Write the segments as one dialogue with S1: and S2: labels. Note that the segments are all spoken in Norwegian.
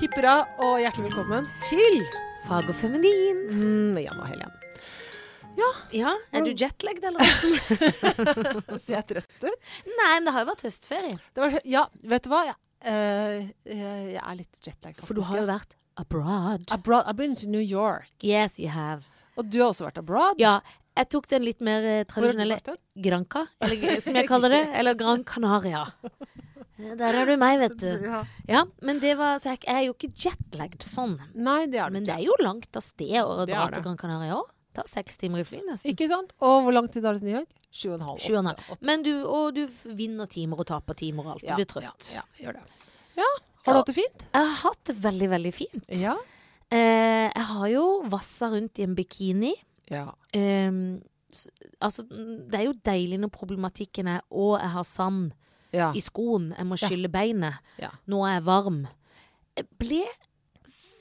S1: Hipp hurra, og hjertelig velkommen til
S2: Fag og feminin.
S1: mm, Jan og Helen.
S2: Ja, Er du jetlagd, eller hvordan?
S1: Ser jeg trøtt ut?
S2: Nei, men det har jo vært høstferie.
S1: Det var, ja, vet du hva? Jeg, eh, jeg jeg er litt jetlag, faktisk.
S2: For du har jo vært abroad.
S1: Abroad, I've been to New York.
S2: Yes, you have.
S1: Og du har også vært abroad.
S2: Ja, jeg tok den litt mer
S1: Hvor
S2: eh,
S1: har du
S2: tradisjonelle
S1: vært hen?
S2: Granca, eller g- som jeg kaller det. Eller Gran Canaria. Eh, Der er du meg, vet du. Ja, men det var, så jeg jeg er jo ikke jetlagd sånn.
S1: Nei, det er du
S2: Men det
S1: ikke.
S2: er jo langt av sted å
S1: Det
S2: dra
S1: er det.
S2: til Gran Canaria òg. Tar seks timer i fly, nesten.
S1: Ikke sant? Og hvor lang tid har du til New York? Sju og en halv.
S2: Sju og en
S1: åtte,
S2: halv. Men du, og du f- vinner timer og taper timer og alt.
S1: åtte. Ja,
S2: Du blir trøtt.
S1: Ja, ja, gjør det. Ja, har du hatt det fint?
S2: Jeg har hatt det veldig, veldig fint.
S1: Ja.
S2: Eh, jeg har jo vassa rundt i en bikini.
S1: ja.
S2: Eh, s- altså, det er jo deilig når problematikken er å, jeg har sand
S1: Ja.
S2: i skoen, jeg må skylle beinet,
S1: Ja.
S2: nå er jeg varm. Jeg ble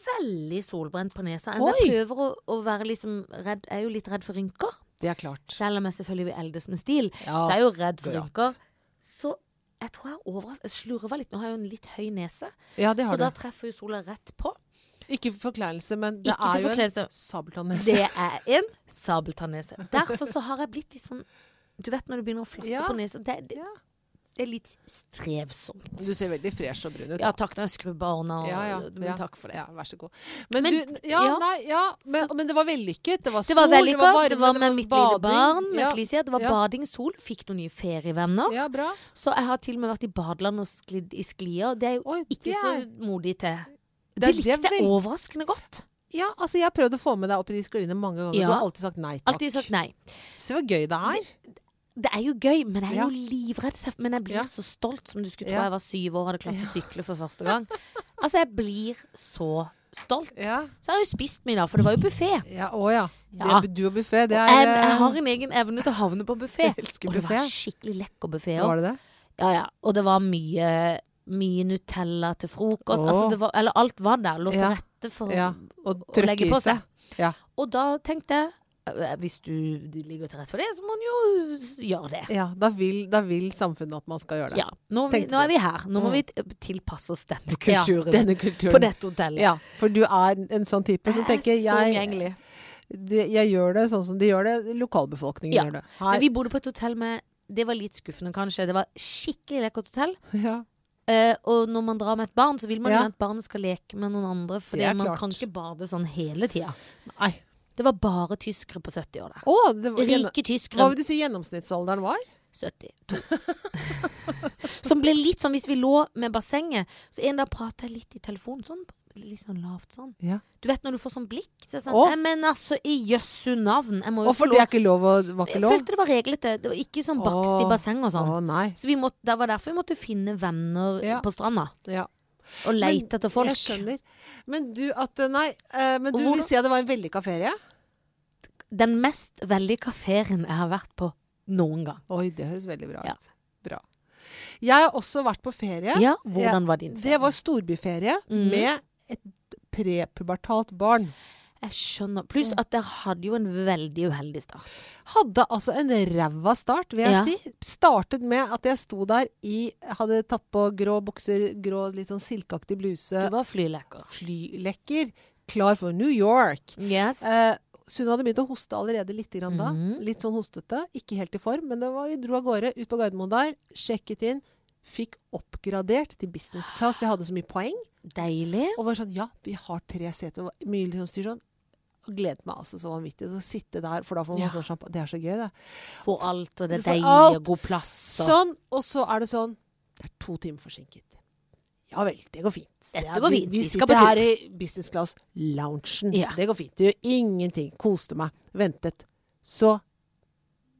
S2: veldig solbrent på nesa. Enda
S1: Oi!
S2: jeg prøver å, å være liksom redd, jeg er jo litt redd for rynker.
S1: Det er klart.
S2: Selv om jeg selvfølgelig vil eldes med stil,
S1: Ja,
S2: så er jeg jo redd for
S1: akkurat.
S2: rynker. Så jeg tror jeg overras- Jeg slurva litt. Nå har jeg jo en litt høy nese,
S1: Ja, det
S2: så
S1: har
S2: da
S1: du.
S2: treffer jo sola rett på.
S1: Ikke forkleinelse, men det
S2: Ikke til
S1: er jo en
S2: forkleinelse.
S1: sabeltannese.
S2: Det er en sabeltannese. Derfor så har jeg blitt litt sånn Du vet når du begynner å flasse
S1: Ja.
S2: på nesa, det, det,
S1: Ja.
S2: det er litt strevsomt.
S1: Du ser veldig fresh og brun ut.
S2: Ja
S1: da.
S2: takk, nå har jeg skrubba årene, og
S1: Ja, ja,
S2: men
S1: ja.
S2: takk for det.
S1: Ja, vær så god. Men,
S2: Men-
S1: du, ja,
S2: ja.
S1: Nei, ja, men, men det var vellykket. Det var
S2: Det
S1: sol,
S2: var vellykka.
S1: det var varme,
S2: Det var med mitt lille barn, med
S1: ja.
S2: Felicia. Det var
S1: ja.
S2: bading, sol. Fikk noen nye ferievenner.
S1: Ja, bra.
S2: Så jeg har til og med vært i badeland og sklidd i sklia. og Det er jo
S1: Oi,
S2: ikke
S1: det
S2: så
S1: er-
S2: modig til.
S1: Det er-
S2: Det
S1: det er
S2: likte jeg
S1: vel-
S2: overraskende godt.
S1: Ja, altså Jeg har prøvd å få med deg opp i de skliene mange ganger.
S2: Ja.
S1: Du har alltid sagt nei takk.
S2: Alltid sagt nei.
S1: Se hvor gøy det er.
S2: Det er jo gøy, men jeg er
S1: Ja.
S2: jo livredd. Sef. Men jeg blir
S1: Ja.
S2: så stolt som du skulle tro
S1: Ja.
S2: jeg var syv år og hadde klart å sykle for første gang. Altså, jeg blir så stolt.
S1: Ja,
S2: Så har jeg jo spist mye, da, for det var jo buffé.
S1: ja Å ja.
S2: Ja.
S1: Det, du og buffé, det er
S2: Jeg, jeg
S1: eh,
S2: har en egen evne til å havne på
S1: Jeg
S2: buffé.
S1: elsker
S2: Og det
S1: buffé.
S2: var skikkelig lekker buffé
S1: Var
S2: òg.
S1: det det?
S2: Ja, ja. Og det var mye, mye Nutella til frokost.
S1: Åh.
S2: Altså, det var, eller alt var der. Lå til
S1: Ja.
S2: rette for
S1: Ja. Og
S2: å
S1: trøkk
S2: legge
S1: i
S2: på
S1: seg.
S2: seg.
S1: Ja.
S2: Og da tenkte jeg eh, hvis du du ligger til rette for det, så må man jo s- gjøre det.
S1: Ja, da vil, da vil samfunnet at man skal gjøre det.
S2: Ja, nå, vi,
S1: Tenkte
S2: nå
S1: du.
S2: er vi her. Nå må
S1: Mm.
S2: vi t- tilpasse oss denne kulturen.
S1: denne kulturen.
S2: På dette hotellet.
S1: Ja, for du er en sånn type som tenker
S2: jeg, er så
S1: jeg,
S2: omgjengelig.
S1: du, jeg gjør det sånn som de gjør det. Lokalbefolkningen
S2: Ja,
S1: gjør det.
S2: Men vi bodde på et hotell med Det var litt skuffende, kanskje. Det var skikkelig lekkert hotell.
S1: ja.
S2: Eh, og når man drar med et barn, så vil man
S1: Ja.
S2: jo at barnet skal leke med noen andre. For
S1: Det er
S2: man
S1: klart.
S2: kan ikke bade sånn hele tida.
S1: Nei.
S2: Det var bare tyskere på 70 år der.
S1: Å, det var gjennom-
S2: Rike
S1: Hva
S2: tyskere.
S1: vil du si gjennomsnittsalderen var?
S2: 72. Som ble litt sånn hvis vi lå med bassenget, så en dag prata jeg litt i telefonen sånn. Litt sånn lavt sånn.
S1: Ja.
S2: Du vet når du får sånn blikk? Så er det sånn,
S1: Å.
S2: «Nei, Men altså, i jøssu navn! Jeg må jo
S1: Og for det er ikke lov å var ikke
S2: Jeg
S1: lov?
S2: følte det var reglete. Det var ikke sånn bakst i
S1: Å.
S2: basseng og sånn.
S1: Å nei.
S2: Så vi måtte, Det var derfor vi måtte finne venner
S1: Ja.
S2: på stranda.
S1: Ja.
S2: Og
S1: Men
S2: leite etter folk.
S1: Jeg skjønner. Men du at Nei. eh, Men
S2: Og
S1: du
S2: hvor-
S1: vil si at det var en vellykka ferie?
S2: Den mest vellykka ferien jeg har vært på noen gang.
S1: Oi, det høres veldig bra
S2: Ja.
S1: ut. Bra. Jeg har også vært på ferie.
S2: Ja, Hvordan var din ferie?
S1: Det var storbyferie
S2: Mm.
S1: med et prepubertalt barn.
S2: Jeg skjønner. Pluss
S1: Mm.
S2: at dere hadde jo en veldig uheldig start.
S1: Hadde altså en ræva start, vil jeg
S2: Ja.
S1: si. Startet med at jeg sto der i Hadde tatt på grå bukser, grå litt sånn silkeaktig bluse.
S2: Du var flyleker.
S1: flylekker, klar for New York.
S2: Yes.
S1: Eh, så hun hadde begynt å hoste allerede litt grann da.
S2: Mhm.
S1: Litt sånn hostete. Ikke helt i form, men det var, vi dro av gårde ut på Gardermoen der, sjekket inn. Fikk oppgradert til business class. Vi hadde så mye poeng.
S2: Deilig.
S1: Og var sånn Ja, vi har tre seter. Det var Mye litt sånn styr sånn. Og Gledet meg altså så vanvittig til å sitte der, for da får man
S2: Ja.
S1: sånn champagne. Det er så gøy, det.
S2: Får alt, og det
S1: Du
S2: er
S1: får
S2: deilig
S1: alt.
S2: og god plass. Og.
S1: Sånn. Og så er det sånn Det er to timer forsinket. Ja vel, det går fint. Det
S2: Dette
S1: er-
S2: går
S1: vi-
S2: fint.
S1: Vi
S2: Vi skal
S1: sitter
S2: på tur.
S1: her i business class-loungen,
S2: Ja.
S1: så det går fint. Det gjør ingenting. Koste meg. Ventet. Så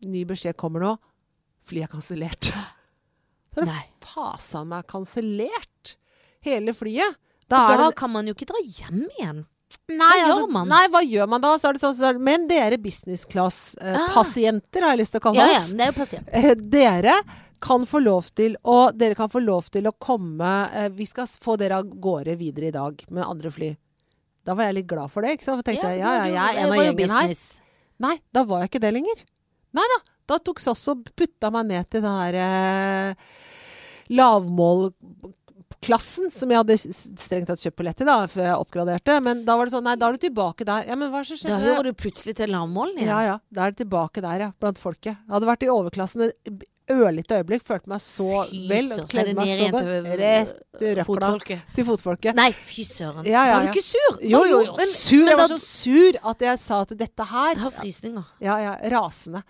S1: ny beskjed kommer nå. Flyet er kansellert. Så er det
S2: Nei.
S1: fasan meg kansellert! Hele flyet.
S2: Da
S1: Da er det
S2: kan man jo ikke dra hjem igjen.
S1: Nei,
S2: Hva
S1: altså,
S2: gjør man?
S1: Nei, hva gjør man da? Så er det sånn, så er det, men dere business
S2: Ah.
S1: class-pasienter, har jeg lyst til å kalle
S2: Ja, ja,
S1: oss.
S2: men det er jo pasient.
S1: Eh, Dere kan få lov til å Dere kan få lov til å komme eh, Vi skal s- få dere av gårde videre i dag med andre fly. Da var jeg litt glad for det. ikke sant? For tenkte jeg, ja, ja, jeg er en av gjengen her. Nei, da var jeg ikke det lenger. Nei da. Da tok SAS og putta meg ned til den der eh, lavmål toppklassen, som jeg hadde s- strengt tatt kjøpt billett til da, før jeg oppgraderte. Men da var det sånn, nei, da er du tilbake der. Ja, men hva er det som
S2: Da
S1: skjedde?
S2: hører du plutselig til lavmålen igjen.
S1: Ja, ja. Da er det tilbake der, ja. Blant folket. Jeg hadde vært i overklassen et ørlite øyeblikk. Følte meg så
S2: Fy
S1: vel. og
S2: søren, så er det
S1: Kledde meg
S2: ned
S1: så
S2: igjen
S1: godt.
S2: til,
S1: Rett i røkla.
S2: Fotfolket.
S1: Til fotfolket.
S2: Nei, fy søren.
S1: Ja, ja,
S2: Var
S1: ja.
S2: du ikke sur?
S1: Jo, jo.
S2: men-
S1: Sur.
S2: men
S1: Jeg var
S2: da-
S1: så sur at jeg sa at dette
S2: Jeg
S1: her
S2: har frysninger.
S1: Ja, ja. Rasende.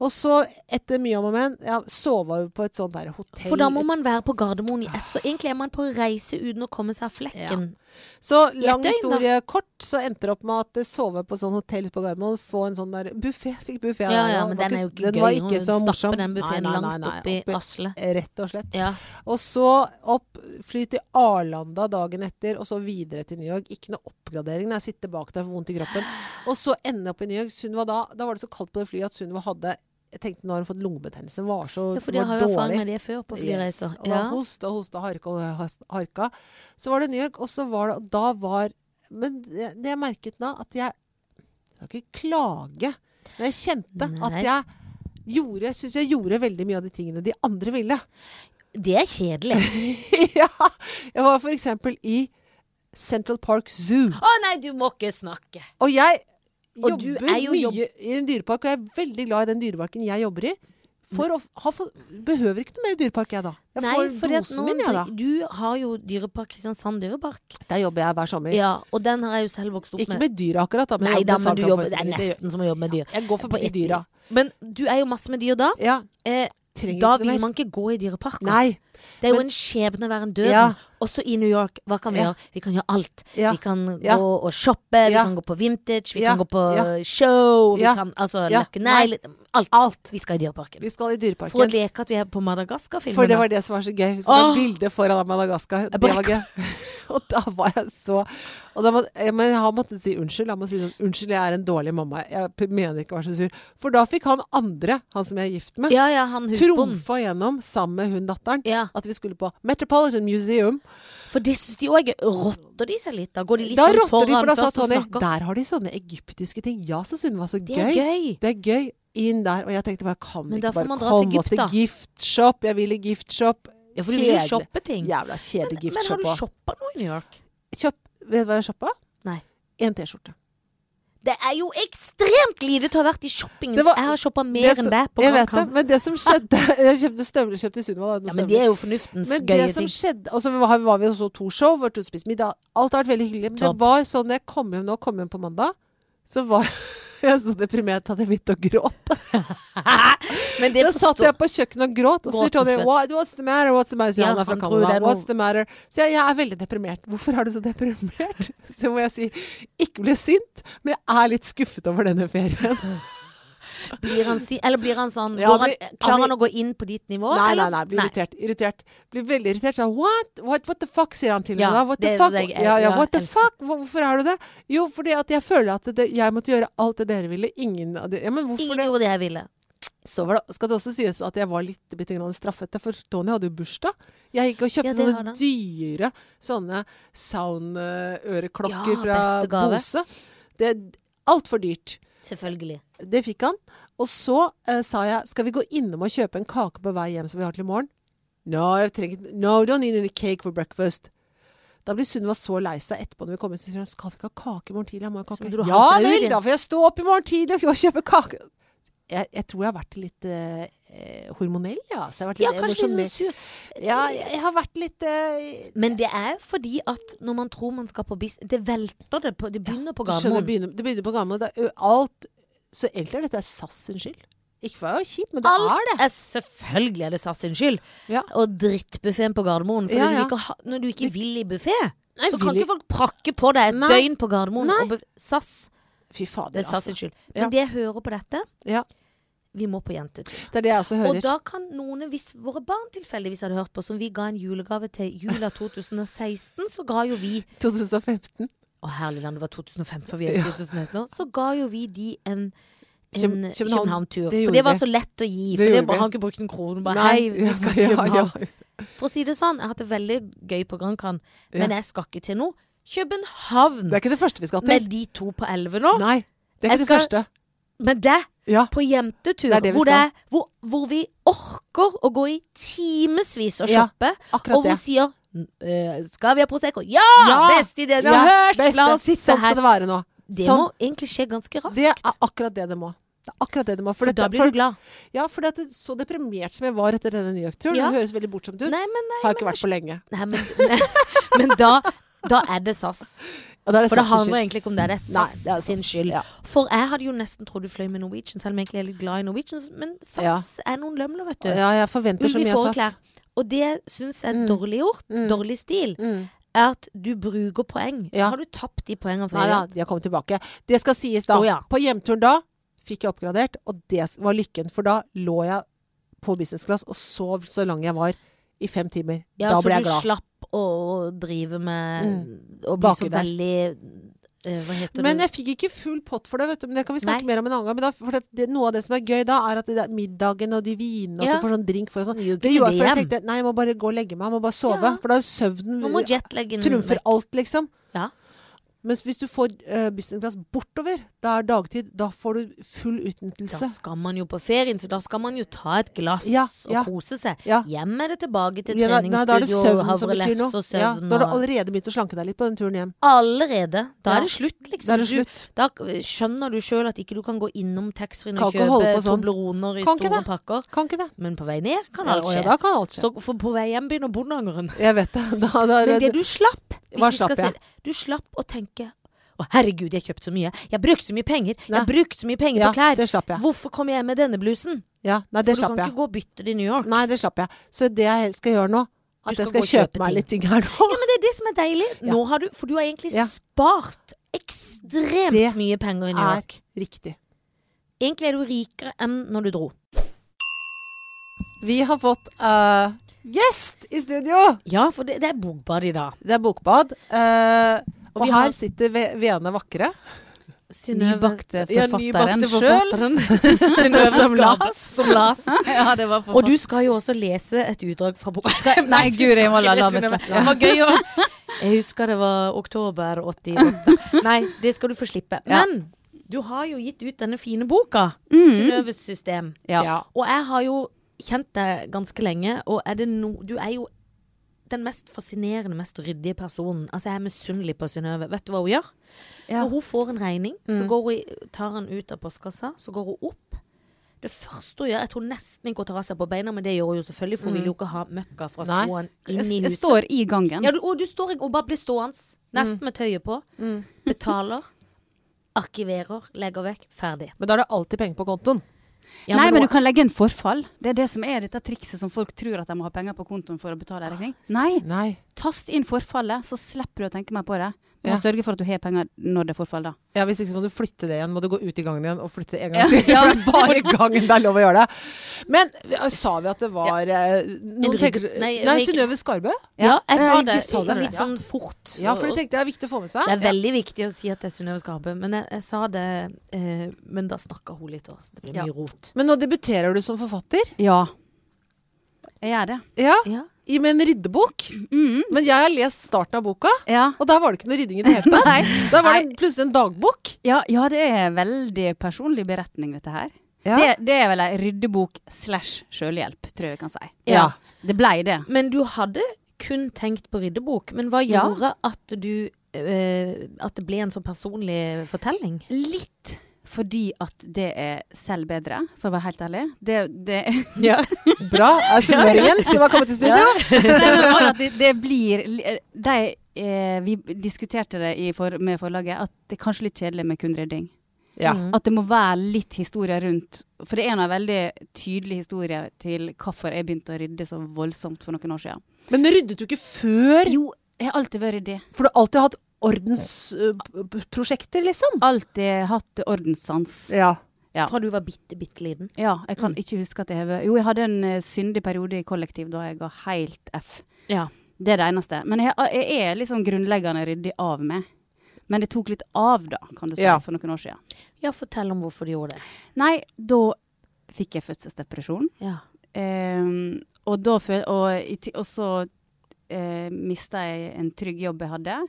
S1: Og så, etter mye om og men, ja, sova vi på et sånt der hotell.
S2: For da må man være på Gardermoen i ett. Så egentlig er man på reise uten å komme seg av flekken.
S1: Så lang
S2: døgn, da.
S1: historie kort, så endte det opp med at jeg sove på sånn hotell på Gardermoen, få en sånn der buffé. Fikk buffé.
S2: Ja, ja, men den er jo ikke
S1: den var
S2: gøy.
S1: ikke
S2: Hun
S1: så morsom.
S2: stapper den
S1: Nei,
S2: buffeen
S1: nei,
S2: langt
S1: nei, nei,
S2: opp i
S1: oppi-
S2: Asle.
S1: Rett og slett.
S2: Ja.
S1: Og så opp, fly til Arlanda dagen etter, og så videre til New York. Ikke noe oppgradering. Jeg sitter bak der, får vondt i kroppen. Og så ende opp i New York. Sunniva da Da var det så kaldt på det flyet at Sunniva hadde Jeg tenkte nå har hun fått lungebetennelse. Hun Var så
S2: ja, for de
S1: var
S2: har jo erfaring med det før på flyreiser.
S1: Yes. Og da
S2: Ja.
S1: hosta, hosta, harka og has- harka. Så var det New York, og så var det og Da var Men det, det jeg merket da, at jeg Jeg skal ikke klage, men jeg kjente
S2: Nei.
S1: at jeg gjorde Syns jeg gjorde veldig mye av de tingene de andre ville.
S2: Det er kjedelig.
S1: ja. Jeg var for eksempel i Central Park Zoo.
S2: Å nei, du må ikke snakke.
S1: Og jeg
S2: Og du
S1: jobber
S2: er jo
S1: mye
S2: jobb-
S1: i en dyrepark, og jeg er veldig glad i den dyreparken jeg jobber i. For å f- ha, for, behøver ikke noe mer dyrepark, jeg da. Jeg får
S2: fordi at
S1: dosen
S2: noen
S1: min, jeg da.
S2: dri- Du har jo Dyrepark Kristiansand Dyrepark.
S1: Der jobber jeg hver sommer.
S2: Ja, og den har jeg jo selv vokst opp
S1: Ikke
S2: med.
S1: med dyra akkurat, da.
S2: Nei
S1: jeg
S2: da,
S1: jobber med
S2: men du
S1: saker og
S2: jobber, det er
S1: fasilitet.
S2: nesten som å jobbe med dyr.
S1: Jeg går
S2: På
S1: forbi
S2: et
S1: dyra.
S2: vis. Men du er jo masse med dyr da.
S1: Ja,
S2: Eh,
S1: trenger
S2: da
S1: ikke noe
S2: vil
S1: mer.
S2: man ikke gå i dyreparker.
S1: Nei.
S2: det er jo
S1: men-
S2: en skjebne å være en døden.
S1: Ja.
S2: Også i New York. Hva kan vi
S1: Ja.
S2: gjøre? Vi kan gjøre alt.
S1: Ja.
S2: Vi kan
S1: Ja.
S2: gå og shoppe, vi
S1: Ja.
S2: kan gå på vintage, vi
S1: Ja.
S2: kan gå på
S1: Ja.
S2: show, vi
S1: Ja.
S2: kan altså
S1: Ja.
S2: lakke negler Alt.
S1: Alt.
S2: Vi skal i dyreparken.
S1: Vi skal i
S2: For å
S1: dyreparken.
S2: leke at vi er på Madagaskar-filmen.
S1: For det var det som var så gøy. Så det
S2: Åh!
S1: bildet foran av Madagaskar. Det
S2: bare
S1: var gøy. Og da var jeg så og da må, jeg, Men jeg har måttet si unnskyld. Jeg må si sånn Unnskyld, jeg er en dårlig mamma. Jeg p- mener ikke å være så sur. For da fikk han andre, han som jeg er gift med,
S2: Ja, ja, han husbonden.
S1: trumfa gjennom sammen med hun datteren
S2: Ja.
S1: at vi skulle på Metropolitan Museum.
S2: For det syns de òg er gøy. Rotter de seg litt, da? Går de litt
S1: Da
S2: sånn
S1: rotter de,
S2: foran
S1: for da sa
S2: først og
S1: Tony
S2: snakker?
S1: Der har de sånne egyptiske ting. Ja, så Sunniva, så
S2: Det er
S1: gøy.
S2: gøy.
S1: Det er gøy inn der. Og jeg tenkte bare, kan
S2: Men
S1: vi
S2: da
S1: ikke
S2: får
S1: bare
S2: man dra
S1: komme
S2: til
S1: oss
S2: Egypt,
S1: til
S2: da.
S1: giftshop? Jeg vil i giftshop.
S2: Ja, for du vil jo
S1: Kjedelig.
S2: shoppe ting.
S1: Jævla kjedelig
S2: Men har
S1: giftshop
S2: du
S1: òg.
S2: shoppa noe i New York?
S1: Kjøp, vet du hva jeg shoppa?
S2: Nei.
S1: En T-skjorte.
S2: Det er jo ekstremt lite til å ha vært i shoppingen.
S1: Det var-
S2: jeg har shoppa
S1: Det
S2: mer
S1: som-
S2: enn deg på
S1: Jeg vet det,
S2: Gran Can.
S1: men det som skjedde Jeg kjøpte støvler, kjøpte Sunniva.
S2: Ja, men det er jo fornuftens
S1: Men
S2: gøye
S1: det som
S2: ting.
S1: skjedde altså Vi var, var vi og så to show, vært ute og spist middag. Alt har vært veldig hyggelig. Men
S2: Topp.
S1: det var sånn da jeg kom hjem nå, kom hjem på mandag, så var jeg så deprimert at jeg begynte å gråte.
S2: Men det
S1: Da satt
S2: forstår
S1: jeg på kjøkkenet og gråt, og så sier
S2: Gråten
S1: Tony
S2: skvett.
S1: What, What's the matter? What's the matter? Sier
S2: Ja,
S1: han er fra
S2: han tror det
S1: Canada.
S2: er noe-
S1: What's the matter? Så jeg, jeg er veldig deprimert. Hvorfor er du så deprimert? Så må jeg si ikke bli sint, men jeg er litt skuffet over denne ferien.
S2: blir han si, Eller blir han sånn
S1: Ja,
S2: går han,
S1: men-
S2: Klarer
S1: ja,
S2: han å gå inn på ditt nivå?
S1: nei, nei,
S2: eller?
S1: nei. Blir irritert. Irritert. Blir veldig irritert. Sånn what? what? What the fuck, sier han til
S2: Ja,
S1: meg da. What the
S2: det
S1: fuck?
S2: synes jeg er-
S1: ja, ja,
S2: ja,
S1: what the
S2: elsker.
S1: fuck? Hvor- Hvorfor er du det? Jo, fordi at jeg føler at det, jeg måtte gjøre alt det dere ville. Ingen av det Ja, men hvorfor
S2: Ingen
S1: det?
S2: gjorde det jeg ville.
S1: Så var det, skal det også sies at jeg var litt bitte grann straffet, for Tony hadde jo bursdag. Jeg gikk og kjøpte
S2: Ja, det har
S1: sånne
S2: han.
S1: dyre sånne sound-øreklokker
S2: Ja, beste
S1: fra
S2: gave.
S1: Bose. Det er altfor dyrt.
S2: Selvfølgelig.
S1: Det fikk han. Og så eh, sa jeg skal vi gå innom og kjøpe en kake på vei hjem som vi har til i morgen. No, jeg trenger ikke No, don't need any cake for breakfast. Da blir Sunniva så lei seg etterpå når vi kommer. Så sier hun skal vi ikke ha kake i morgen tidlig? Jeg må ha
S2: Så
S1: kake.
S2: du har
S1: Ja
S2: hastet deg ut
S1: vel,
S2: igjen.
S1: da får jeg stå opp i morgen tidlig og gå og kjøpe kake. Jeg, jeg tror jeg har vært litt eh, eh, hormonell, ja. Så jeg har vært
S2: Ja,
S1: litt
S2: kanskje litt
S1: emosjonell.
S2: sånn sur.
S1: Ja, jeg, jeg har vært litt eh,
S2: Men det er fordi at når man tror man skal på bis... Det velter det på Det begynner på
S1: Du skjønner, det
S2: Gardermoen.
S1: begynner, det begynner på gammel. Det er, ø, alt Så egentlig er dette SAS sin skyld. Ikke for å være kjip, men det
S2: Alt
S1: er det.
S2: er selvfølgelig er det SAS sin skyld.
S1: Ja.
S2: Og drittbuffeen på Gardermoen. For
S1: Ja,
S2: når,
S1: ja.
S2: du ikke ha, når du ikke vil i buffé, så kan
S1: vil
S2: ikke folk prakke på deg et
S1: Nei.
S2: døgn på Gardermoen.
S1: Nei.
S2: Og buff- SAS.
S1: Fy fader,
S2: Det er SAS
S1: altså.
S2: sin skyld.
S1: Ja.
S2: Men det jeg hører på dette
S1: Ja,
S2: Vi må på jentetur.
S1: det er det jeg også
S2: Og
S1: hører.
S2: da kan noen, hvis våre barn tilfeldigvis hadde hørt på, som vi ga en julegave til jula 2016, så ga jo vi
S1: 2015.
S2: Å herlig land, det var 2005, for vi er i 2016 nå. Så ga jo vi de en en
S1: Køben- København. Det
S2: København-tur.
S1: gjorde
S2: for det var
S1: vi.
S2: så lett å gi.
S1: Det
S2: For det
S1: gjorde
S2: bare,
S1: vi.
S2: har ikke brukt en krone. Bare
S1: Nei,
S2: hei, vi skal til
S1: ja,
S2: København.
S1: ja.
S2: For å si det sånn, jeg har hatt det veldig gøy på Gran Can, men
S1: Ja.
S2: jeg skal ikke til noe. København!
S1: Det er ikke det første vi skal til.
S2: Med de to på elleve nå.
S1: Nei, det er ikke det
S2: Jeg skal-
S1: første.
S2: Med deg
S1: Ja.
S2: på jentetur,
S1: Det er det vi
S2: hvor,
S1: skal.
S2: er- hvor, hvor vi orker å gå i timevis og
S1: Ja,
S2: shoppe,
S1: akkurat
S2: og hun
S1: det.
S2: sier eh, Skal vi ha Prosecco? Ja!
S1: Ja!
S2: Best idé vi
S1: Ja,
S2: har hørt!
S1: best,
S2: La oss
S1: det-
S2: sitte
S1: sånn skal
S2: her.
S1: det være nå.
S2: Det
S1: Sånn.
S2: må egentlig skje ganske raskt.
S1: Det er akkurat det det må. Det er akkurat det det må.
S2: for
S1: dette-
S2: da blir du glad.
S1: Ja, for det, så deprimert som jeg var etter denne New York-turen.
S2: Ja.
S1: Det høres veldig bortsomt ut.
S2: Nei, men, nei,
S1: har jeg ikke vært på lenge.
S2: nei, men, nei, men da, da er det SAS.
S1: Ja, da er det
S2: For det
S1: SAS'
S2: handler
S1: skyld.
S2: egentlig ikke om det. Det er
S1: Nei,
S2: SAS
S1: det er
S2: sin
S1: SAS,
S2: skyld.
S1: ja.
S2: For jeg hadde jo nesten trodd du fløy med Norwegian, selv om jeg egentlig er litt glad i Norwegian. Men SAS er noen lømler, vet du.
S1: Ja, jeg forventer så
S2: Ulv i
S1: mye av SAS.
S2: fåreklær. Og det syns jeg er
S1: Mm.
S2: dårlig gjort,
S1: Mm.
S2: dårlig stil,
S1: Mm.
S2: er at du bruker poeng.
S1: Ja.
S2: Har du tapt de poengene før?
S1: Nei da, de har kommet tilbake. Det skal sies da.
S2: Å, ja.
S1: På hjemturen da fikk jeg oppgradert, og det var lykken. For da lå jeg på business class og sov så lang jeg var. I fem timer.
S2: Ja,
S1: da
S2: så
S1: ble jeg
S2: du
S1: glad.
S2: slapp å drive med Å bli
S1: Baki
S2: så
S1: der.
S2: veldig eh, Hva heter
S1: Men
S2: det?
S1: jeg fikk ikke full pott for det, vet du. Men det kan vi snakke
S2: Nei.
S1: mer om en annen gang. Men da, for det, det, noe av det som er gøy da, er at det der middagen og de vinene, og
S2: Ja.
S1: at du får sånn drink for og sånn.
S2: Det gjør
S1: Det
S2: ikke
S1: gjorde jeg
S2: det
S1: for jeg
S2: hjem.
S1: tenkte nei, jeg må bare gå og legge meg, jeg må bare sove.
S2: Ja.
S1: For da er søvnen
S2: Nå må jetlaggen
S1: trumfer
S2: vekk.
S1: alt, liksom.
S2: Ja.
S1: Mens hvis du får eh, business class bortover, da er dagtid, da får du full
S2: Da
S1: utnyttelse.
S2: skal man jo på ferien, så da skal man jo ta et glass
S1: Ja, ja.
S2: og kose seg.
S1: Ja.
S2: Hjem er det tilbake til
S1: Ja, da- nei, da er det
S2: treningsstudio,
S1: søvnen som betyr
S2: havrelefse
S1: noe.
S2: og
S1: Ja,
S2: søvn.
S1: da har du
S2: og-
S1: allerede begynt å slanke deg litt på den turen hjem.
S2: Allerede. Da
S1: Ja.
S2: er det slutt, liksom.
S1: Da er det
S2: Du-
S1: slutt.
S2: Da skjønner du sjøl at ikke du kan gå innom taxfree-en
S1: Kan
S2: og
S1: ikke holde
S2: kjøpe
S1: på sånn.
S2: Tobleroner i
S1: Kan ikke
S2: store
S1: det.
S2: pakker.
S1: Kan ikke det?
S2: Men på vei ned kan
S1: Ja,
S2: alt
S1: å ja,
S2: skje.
S1: da kan alt skje.
S2: så for på vei hjem begynner bondeangeren.
S1: Jeg vet det. Da, da, er
S2: Men
S1: det-
S2: det du slapp hvis
S1: Hva
S2: vi skal
S1: slapp jeg?
S2: si- Du slapp å tenke å herregud, jeg har kjøpt så mye. Jeg har brukt så mye penger. Jeg
S1: Nei.
S2: har brukt så mye penger
S1: ja,
S2: på klær.
S1: det slapp jeg.
S2: Hvorfor kom jeg med denne blusen?
S1: Ja, nei, det
S2: For du
S1: slapp
S2: kan
S1: jeg.
S2: ikke gå og bytte det i New York.
S1: Nei, det slapp jeg. Så det jeg helst skal gjøre nå, at jeg
S2: Du skal
S1: skal
S2: gå og kjøpe
S1: kjøpe meg
S2: ting.
S1: litt ting her nå.
S2: Ja, men det er det som er deilig. Nå har du, for du har egentlig
S1: Ja.
S2: spart ekstremt
S1: Det
S2: mye penger i New
S1: Er
S2: York.
S1: riktig.
S2: Egentlig er du rikere enn når du dro.
S1: Vi har fått eh, gjest i studio!
S2: Ja, for det, det er bogbad i dag.
S1: Det er bokbad. eh, og
S2: vi
S1: her
S2: har-
S1: sitter Ve- Vene Vakre.
S3: Nybakte
S2: Ja,
S3: forfatteren
S2: nybakte
S3: sjøl.
S2: forfatteren. Synnøve
S3: Som
S2: Skabas.
S3: las.
S2: Som las.
S3: Ja, det var forfatt-
S2: Og du skal jo også lese et utdrag fra boka.
S3: Nei, guri, jeg må la- la meg
S2: Synnøve.
S3: snakke.
S2: Det var gøy å Jeg husker det var oktober 88. Nei, det skal du få slippe.
S3: Ja.
S2: Men du har jo gitt ut denne fine boka, Synnøves system.
S3: Ja.
S2: Og jeg har jo kjent deg ganske lenge, og er det no, du er jo den mest fascinerende, mest ryddige personen. Altså, jeg er misunnelig på Synnøve. Vet du hva hun gjør?
S3: Ja. Mm.
S2: Når hun får en regning, så går hun, tar hun ut av postkassa, så går hun opp. Det første hun gjør, jeg tror nesten ikke hun tar av seg på beina, men det gjør hun jo selvfølgelig, for hun vil jo ikke ha møkka fra
S1: Nei.
S2: skoene inn i
S3: Mm. Jeg
S2: huset.
S3: står Mm. i gangen.
S2: Ja, du, og du står og bare blir stående, nesten med tøyet på,
S3: Mm.
S2: betaler, arkiverer, legger vekk, ferdig.
S1: Men da er det alltid penger på kontoen.
S2: Ja,
S3: Nei, men
S2: hun-
S3: du kan legge inn forfall. Det er det som er dette trikset som folk tror at de må ha penger på kontoen for å betale
S2: Ah,
S3: regning. Nei,
S1: Nei.
S3: tast inn forfallet, så slipper du å tenke mer på det. Du
S1: Ja.
S3: må sørge for at du har penger når det er forfall, da.
S1: Ja, Hvis ikke så må du flytte det igjen. Må du gå ut i gangen igjen og flytte det en gang til. For det er bare i gangen det er lov å gjøre det. Men eh, sa vi at det var eh, noen
S2: En
S1: tenker,
S2: rygg-
S1: Nei,
S2: nei, rygg-
S1: Synnøve Skarbø?
S2: Ja,
S3: Eh,
S2: jeg sa
S1: jeg
S2: det,
S1: sa det.
S2: litt sånn fort.
S1: Ja, for det tenkte jeg er viktig å få med seg.
S2: Det er veldig viktig å si at det er Synnøve Skarpe, men jeg, jeg sa det eh, Men da snakka hun litt, også. Det ble
S3: Ja.
S2: mye rot.
S1: Men nå debuterer du som forfatter.
S3: Ja. Jeg gjør det. Mm.
S1: Ja,
S2: Ja.
S1: i Med en ryddebok. Men jeg har lest starten av boka,
S3: Ja.
S1: og der var det ikke noe rydding i det hele tatt.
S3: Nei.
S1: Der var det plutselig en dagbok.
S3: Ja, ja, det er veldig personlig beretning, dette her.
S1: Ja.
S3: Det, det er vel ei ryddebok slash sjølhjelp, tror jeg vi kan si.
S1: Ja.
S3: Det blei det.
S2: Men du hadde kun tenkt på ryddebok. Men hva
S3: Ja.
S2: gjorde at du eh, At det ble en sånn personlig fortelling?
S3: Litt fordi at det er selv bedre, for å være helt ærlig. Det, det,
S2: Ja.
S1: Bra. Er sunnmøringen som har kommet i studio?
S3: Nei, men bare at det, det blir li- de, eh, Vi diskuterte det i for, med forlaget, at det er kanskje litt kjedelig med kun rydding.
S1: Ja.
S2: Mm.
S3: At det må være litt historie rundt. For det er en av veldig tydelig historie til hvorfor jeg begynte å rydde så voldsomt for noen år siden.
S1: Men ryddet du ikke før?
S3: Jo, jeg har alltid vært ryddig.
S1: For du har alltid hatt eh, ordensprosjekter, liksom?
S3: Alltid hatt ordenssans.
S1: Ja.
S3: Ja.
S2: Fra du var bitte, bitte liten.
S3: Ja, jeg kan ikke huske at jeg har vært- Jo, jeg hadde en eh, syndig periode i kollektiv da jeg ga helt F.
S2: Ja.
S3: Det er det eneste. Men jeg, jeg er liksom grunnleggende ryddig av meg. Men det tok litt av, da, kan du si,
S1: Ja.
S3: for noen år siden.
S2: ja, fortell om hvorfor du gjorde det.
S3: Nei, da fikk jeg fødselsdepresjon.
S2: Ja.
S3: Ehm, og, da føl og, i ti- og så uh, mista jeg en trygg jobb jeg hadde,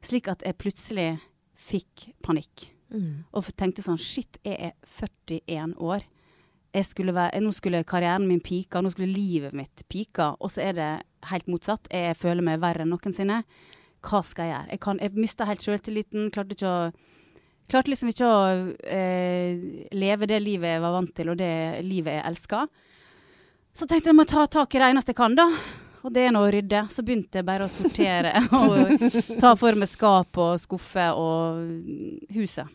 S3: slik at jeg plutselig fikk panikk.
S2: Mm.
S3: Og f- tenkte sånn Shit, jeg er 41 år. Jeg skulle være, nå skulle karrieren min pika, nå skulle livet mitt pika. Og så er det helt motsatt. Jeg føler meg verre enn noensinne. Hva skal jeg gjøre? Jeg, kan, jeg mista helt sjøltilliten. Klarte ikke å Klarte liksom ikke å eh, leve det livet jeg var vant til, og det livet jeg elska. Så tenkte jeg må ta tak i det eneste jeg kan, da. Og det er nå å rydde. Så begynte jeg bare å sortere og ta for meg skap og skuffer og huset.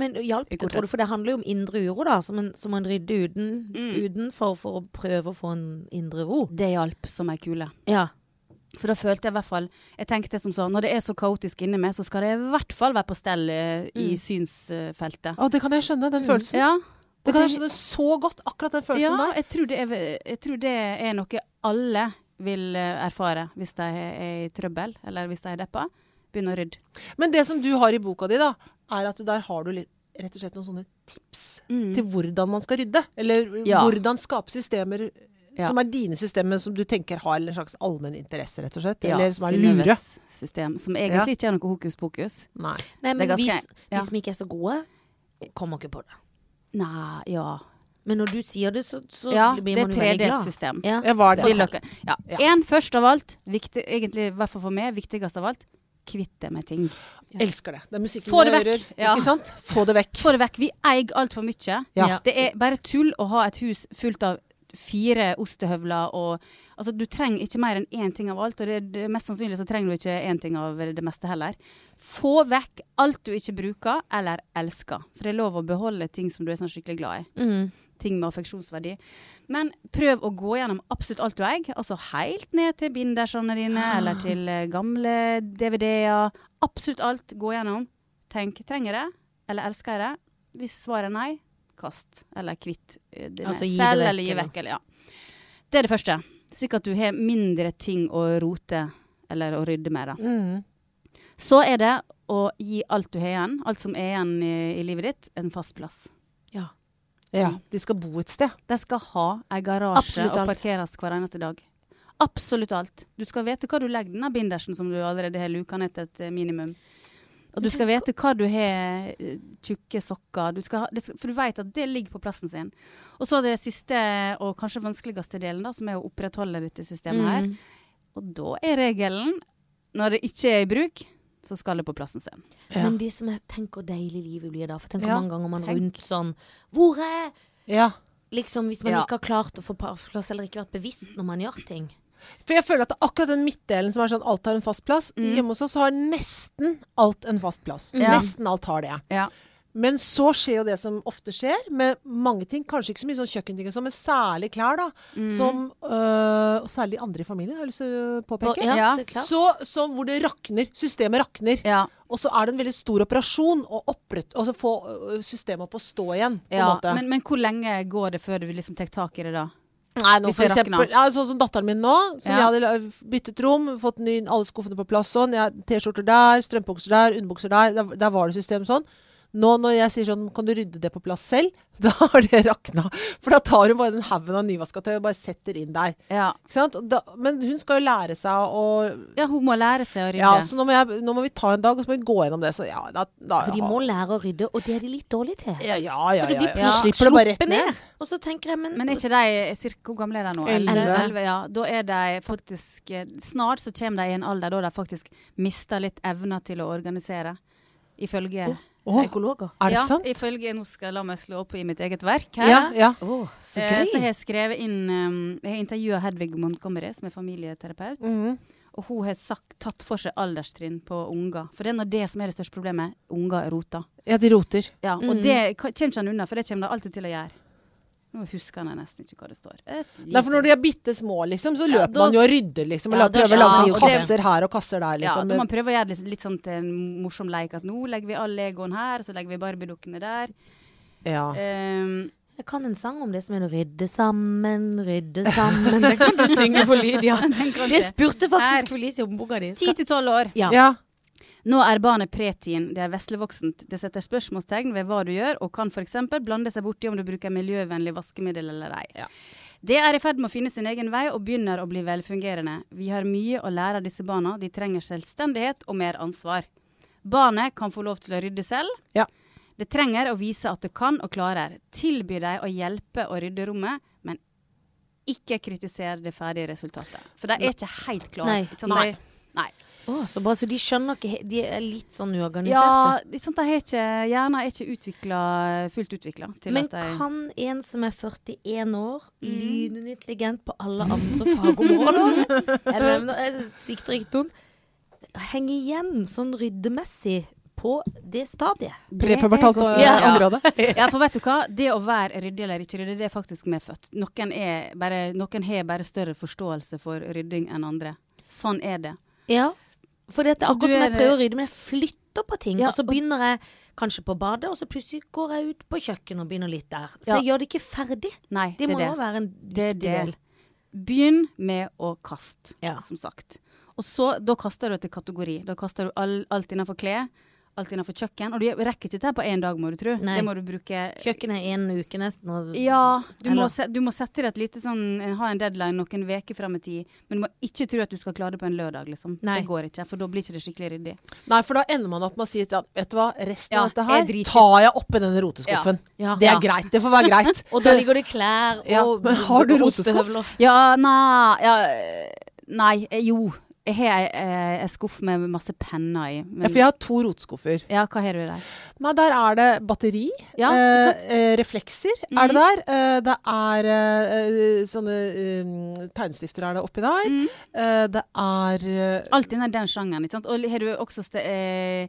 S2: Men hjalp
S3: I
S2: det,
S3: korthet.
S2: tror du? For det handler jo om indre uro, da. Som en, som en rydder uten,
S3: Mm.
S2: utenfor for å prøve å få en indre ro.
S3: Det hjalp som ei kule.
S2: Ja.
S3: For da følte jeg i hvert fall Jeg tenkte som sånn Når det er så kaotisk inni meg, så skal det i hvert fall være på stell eh, i
S2: Mm.
S3: synsfeltet.
S1: Å, det kan jeg skjønne, den følelsen.
S3: Mm. Ja,
S1: Det kan jeg skjønne så godt, akkurat den følelsen
S3: ja
S1: der.
S3: jeg, tror det er, jeg tror det er noe alle vil eh, erfare hvis de er i trøbbel, eller hvis de er deppa. Begynne å rydde.
S1: Men det som du har i boka di, da, er at du der har du litt, rett og slett noen sånne tips til hvordan man skal rydde. Eller
S3: Mm. Ja.
S1: hvordan skape systemer
S3: Ja.
S1: som er dine systemer, som du tenker har en slags allmenn interesse, rett og slett.
S3: Ja,
S1: eller som er
S3: Synnøves
S1: lure.
S3: System, som egentlig ikke er noe hokus pokus.
S1: Nei.
S2: Nei, men
S3: Det er
S2: vi,
S3: ganske- ja.
S2: vi som ikke er så gode, kommer ikke på det.
S3: Nei, ja.
S2: Men når du sier det, så, så
S3: ja det
S2: blir
S3: er
S2: man
S3: et
S2: jo veldig
S3: tredelt
S2: glad.
S3: system.
S2: Ja.
S1: Ja, hva er
S3: Vil
S1: det?
S3: dere- Ja. En, først av alt, viktig, egentlig i hvert fall for meg, viktigst av alt, kvitte med ting.
S1: Elsker det. Det er musikken
S3: Få
S1: du
S3: det vekk.
S1: hører.
S3: Ja.
S1: Ikke sant? Få det vekk.
S3: Få det vekk. Vi eier altfor mye.
S1: Ja.
S2: Ja.
S3: Det er bare tull å ha et hus fullt av fire ostehøvler og Altså, du trenger ikke mer enn én ting av alt, og det, det, mest sannsynlig så trenger du ikke én ting av det meste heller. Få vekk alt du ikke bruker eller elsker. For det er lov å beholde ting som du er sånn skikkelig glad i.
S2: Mm.
S3: ting med affeksjonsverdi. Men prøv å gå gjennom absolutt alt du eier. Altså helt ned til bindersene dine,
S2: Ah.
S3: eller til eh, gamle DVD-er. Absolutt alt. Gå gjennom. Tenk trenger jeg det, eller elsker jeg det? Hvis svaret er nei, kast. Eller kvitt eh, det med.
S2: Altså, gi det
S3: Selg
S2: vekk,
S3: eller gi
S2: eller?
S3: vekk. Eller, ja. Det er det første. Slik at du har mindre ting å rote eller å rydde med. da.
S1: Mm.
S3: Så er det å gi alt du har igjen, alt som er igjen i, i livet ditt, en fast plass.
S1: Ja. De skal bo et sted.
S3: De skal ha ei garasje
S2: Absolutt
S3: og
S2: alt.
S3: parkeres hver eneste dag. Absolutt alt. Du skal vite hva du legger denne bindersen som du allerede har luka ned til et eh, minimum. Og du skal vite hva du har eh, tjukke sokker du skal ha, det skal, For du vet at det ligger på plassen sin. Og så det siste og kanskje vanskeligste delen, da, som er å opprettholde dette systemet her.
S2: Mm.
S3: Og da er regelen når det ikke er i bruk, så skal det på plassen sin.
S1: Ja.
S2: Men de som er, tenk hvor deilig livet blir da. For tenk hvor
S1: Ja,
S2: mange ganger man
S3: tenk.
S2: rundt sånn Hvor er
S1: Ja.
S2: Liksom hvis man
S3: Ja.
S2: ikke har klart å få plass, eller ikke vært bevisst når man gjør ting.
S1: For jeg føler at det er akkurat den midtdelen som er sånn alt har en fast plass. Hjemme hos oss har nesten alt en fast plass.
S3: Mm. Ja.
S1: Nesten alt har det.
S3: Ja.
S1: Men så skjer jo det som ofte skjer med mange ting. Kanskje ikke så mye sånn kjøkkenting, og sånn, men særlig klær. da,
S3: Mm.
S1: som, øh, Og særlig de andre i familien, har jeg lyst til å påpeke.
S2: Ja,
S3: Ja.
S2: så klart.
S1: Så, som hvor det rakner. Systemet rakner.
S3: Ja.
S1: Og så er det en veldig stor operasjon å opprett, altså få øh, systemet opp å stå igjen. på en
S3: ja.
S1: måte.
S3: Men, men hvor lenge går det før du liksom tar tak i det da?
S1: Nei, nå
S3: Hvis
S1: for
S3: det rakner.
S1: eksempel, ja, sånn som datteren min nå, som
S3: Ja.
S1: jeg hadde la- byttet rom, fått ny, alle skuffene på plass sånn, jeg, t-skjorter der, strømpebukser der, underbukser der, der, der var det system sånn. Nå når jeg sier sånn, kan du rydde det på plass selv? Da har det rakna. For da tar hun bare den haugen av nyvasketøy og bare setter inn der.
S3: Ja.
S1: Ikke sant? Og Da, men hun skal jo lære seg å
S3: Ja, hun må lære seg å rydde.
S1: Ja, så nå må, jeg, nå må vi ta en dag, og så må vi gå gjennom det. Så ja, da, da
S2: For de må lære å rydde, og det er de litt dårlige til.
S1: Ja, ja, ja. ja,
S2: For det blir
S1: ja.
S2: plutselig
S1: Slipper det bare rett
S2: sluppet
S1: ned.
S2: Og så tenker jeg, men,
S3: Men er ikke de cirka, Hvor gamle er de nå?
S1: Elleve.
S3: Elleve, elleve, ja. Da er de faktisk eh, Snart så kommer de i en alder da de faktisk mister litt evner til å organisere. Ifølge
S1: Åh,
S2: psykologer.
S1: er det
S3: ja,
S1: sant?
S3: Ifølge Nå skal jeg la meg slå opp i mitt eget verk her.
S1: Ja, ja.
S2: Å, så
S3: Eh, Så
S2: gøy.
S3: har jeg skrevet inn eh, Jeg har intervjua Hedvig Montgomery, som er familieterapeut.
S1: Mhm.
S3: Og hun har sagt, tatt for seg alderstrinn på unger. For det er nå det som er det største problemet. Unger roter.
S1: ja, de roter.
S3: Ja, og
S1: Mhm.
S3: det ka- kommer ikke han unna, for det kommer de alltid til å gjøre. Nå husker han nesten ikke hva det står. Et
S1: Nei, for når de er bitte små, liksom, så
S3: Ja,
S1: løper
S3: da-
S1: man jo og rydder, liksom. Og
S2: Ja,
S1: la-
S2: da
S1: prøver å
S2: skjønner
S1: lage
S2: jeg jo
S1: sånne
S2: det.
S1: kasser her og kasser der,
S3: Ja,
S1: liksom.
S3: da man prøver å gjøre det litt- litt sånn til en morsom leik at nå legger vi all Legoen her, så legger vi Barbie-dukkene der.
S1: ja.
S3: Ehm,
S2: Jeg kan en sang om det som er 'Rydde sammen, rydde sammen'. Den kan du synge for Lydia.
S3: kan
S2: Det
S3: jeg.
S2: spurte
S3: Her.
S2: faktisk Felicia om boka di.
S3: 10 til 12 år.
S2: Ja.
S1: ja.
S3: Nå er barnet preteen, det er veslevoksent. Det setter spørsmålstegn ved hva du gjør, og kan f.eks. blande seg borti om du bruker miljøvennlig vaskemiddel eller ei.
S1: Ja.
S3: Det er i ferd med å finne sin egen vei og begynner å bli velfungerende. Vi har mye å lære av disse barna, de trenger selvstendighet og mer ansvar. Barnet kan få lov til å rydde selv.
S1: Ja.
S3: Det trenger å vise at det kan og klarer. Tilby dem å hjelpe å rydde rommet, men Ikke kritiser det ferdige resultatet. For de er ikke helt klare.
S2: Nei.
S3: Ikke sant? De- Nei.
S2: Å, så bra. Så de skjønner ikke he- De er litt sånn uorganiserte.
S3: Ja, ikke sant, de har ikke, hjernen er ikke utviklet- fullt utvikla til
S2: Men
S3: at de
S2: kan en som er 41 år, Mm. lynintelligent på alle andre fagområder Jeg nevner jeg sikter ikke noen. Henge igjen sånn ryddemessig på det stadiet.
S3: Det er
S1: Prepubertalt
S3: godt-
S1: eh,
S3: Ja.
S1: område.
S3: Ja, for vet du hva? Det å være ryddig eller ikke ryddig, det er faktisk medfødt. Noen, er bare, noen har bare større forståelse for rydding enn andre. Sånn er det.
S2: Ja. For det er
S3: Så
S2: akkurat
S3: du
S2: som jeg
S3: er-
S2: prøver å rydde, men jeg flytter på ting.
S3: Ja,
S2: og så
S3: og-
S2: begynner jeg kanskje på badet, og så plutselig går jeg ut på kjøkkenet og begynner litt der. Så
S3: Ja.
S2: jeg gjør det ikke ferdig.
S3: Nei,
S2: Det,
S3: det,
S2: må jo
S3: er det.
S2: være en viktig
S3: Det er
S2: del.
S3: det. Begynn med å kaste,
S2: Ja.
S3: som sagt. Og så, da kaster du etter kategori. Da kaster du all, alt innenfor klær, alt innenfor kjøkken. Og du rekker ikke dette på én dag, må du tro.
S2: Nei.
S3: Det må du bruke
S2: Kjøkkenet er en uke nesten. Og
S3: Ja, du må,
S2: Eller-
S3: se, du må sette deg et lite sånn Ha en deadline noen uker frem i tid. Men du må ikke tro at du skal klare det på en lørdag, liksom.
S2: Nei.
S3: Det går ikke, for da blir ikke det skikkelig ryddig.
S1: Nei, for da ender man opp med å si at ja, vet du hva, resten
S3: Ja,
S1: av dette
S3: jeg
S1: her
S3: driter.
S1: tar jeg oppi denne roteskuffen.
S2: Ja.
S1: Det er
S2: Ja.
S1: greit. Det får være greit.
S2: Og da ligger det klær og
S1: Ja, men har du
S2: ostehøvler.
S3: Ja, nei ja, Nei, eh, jo. Jeg har ei- ei skuff med masse penner i.
S1: Ja,
S3: Men,
S1: for jeg har to rotskuffer.
S3: ja, hva har du der?
S1: Nei, der er det batteri.
S3: Ja,
S1: eh,
S3: ikke Mhm.
S1: eh, reflekser er det der. Eh, det er eh, sånne eh, tegnestifter er det oppi der.
S3: Mhm.
S1: Eh, det er eh,
S3: Alt innen den sjangeren. Ikke sant? Og har du også ste, eh,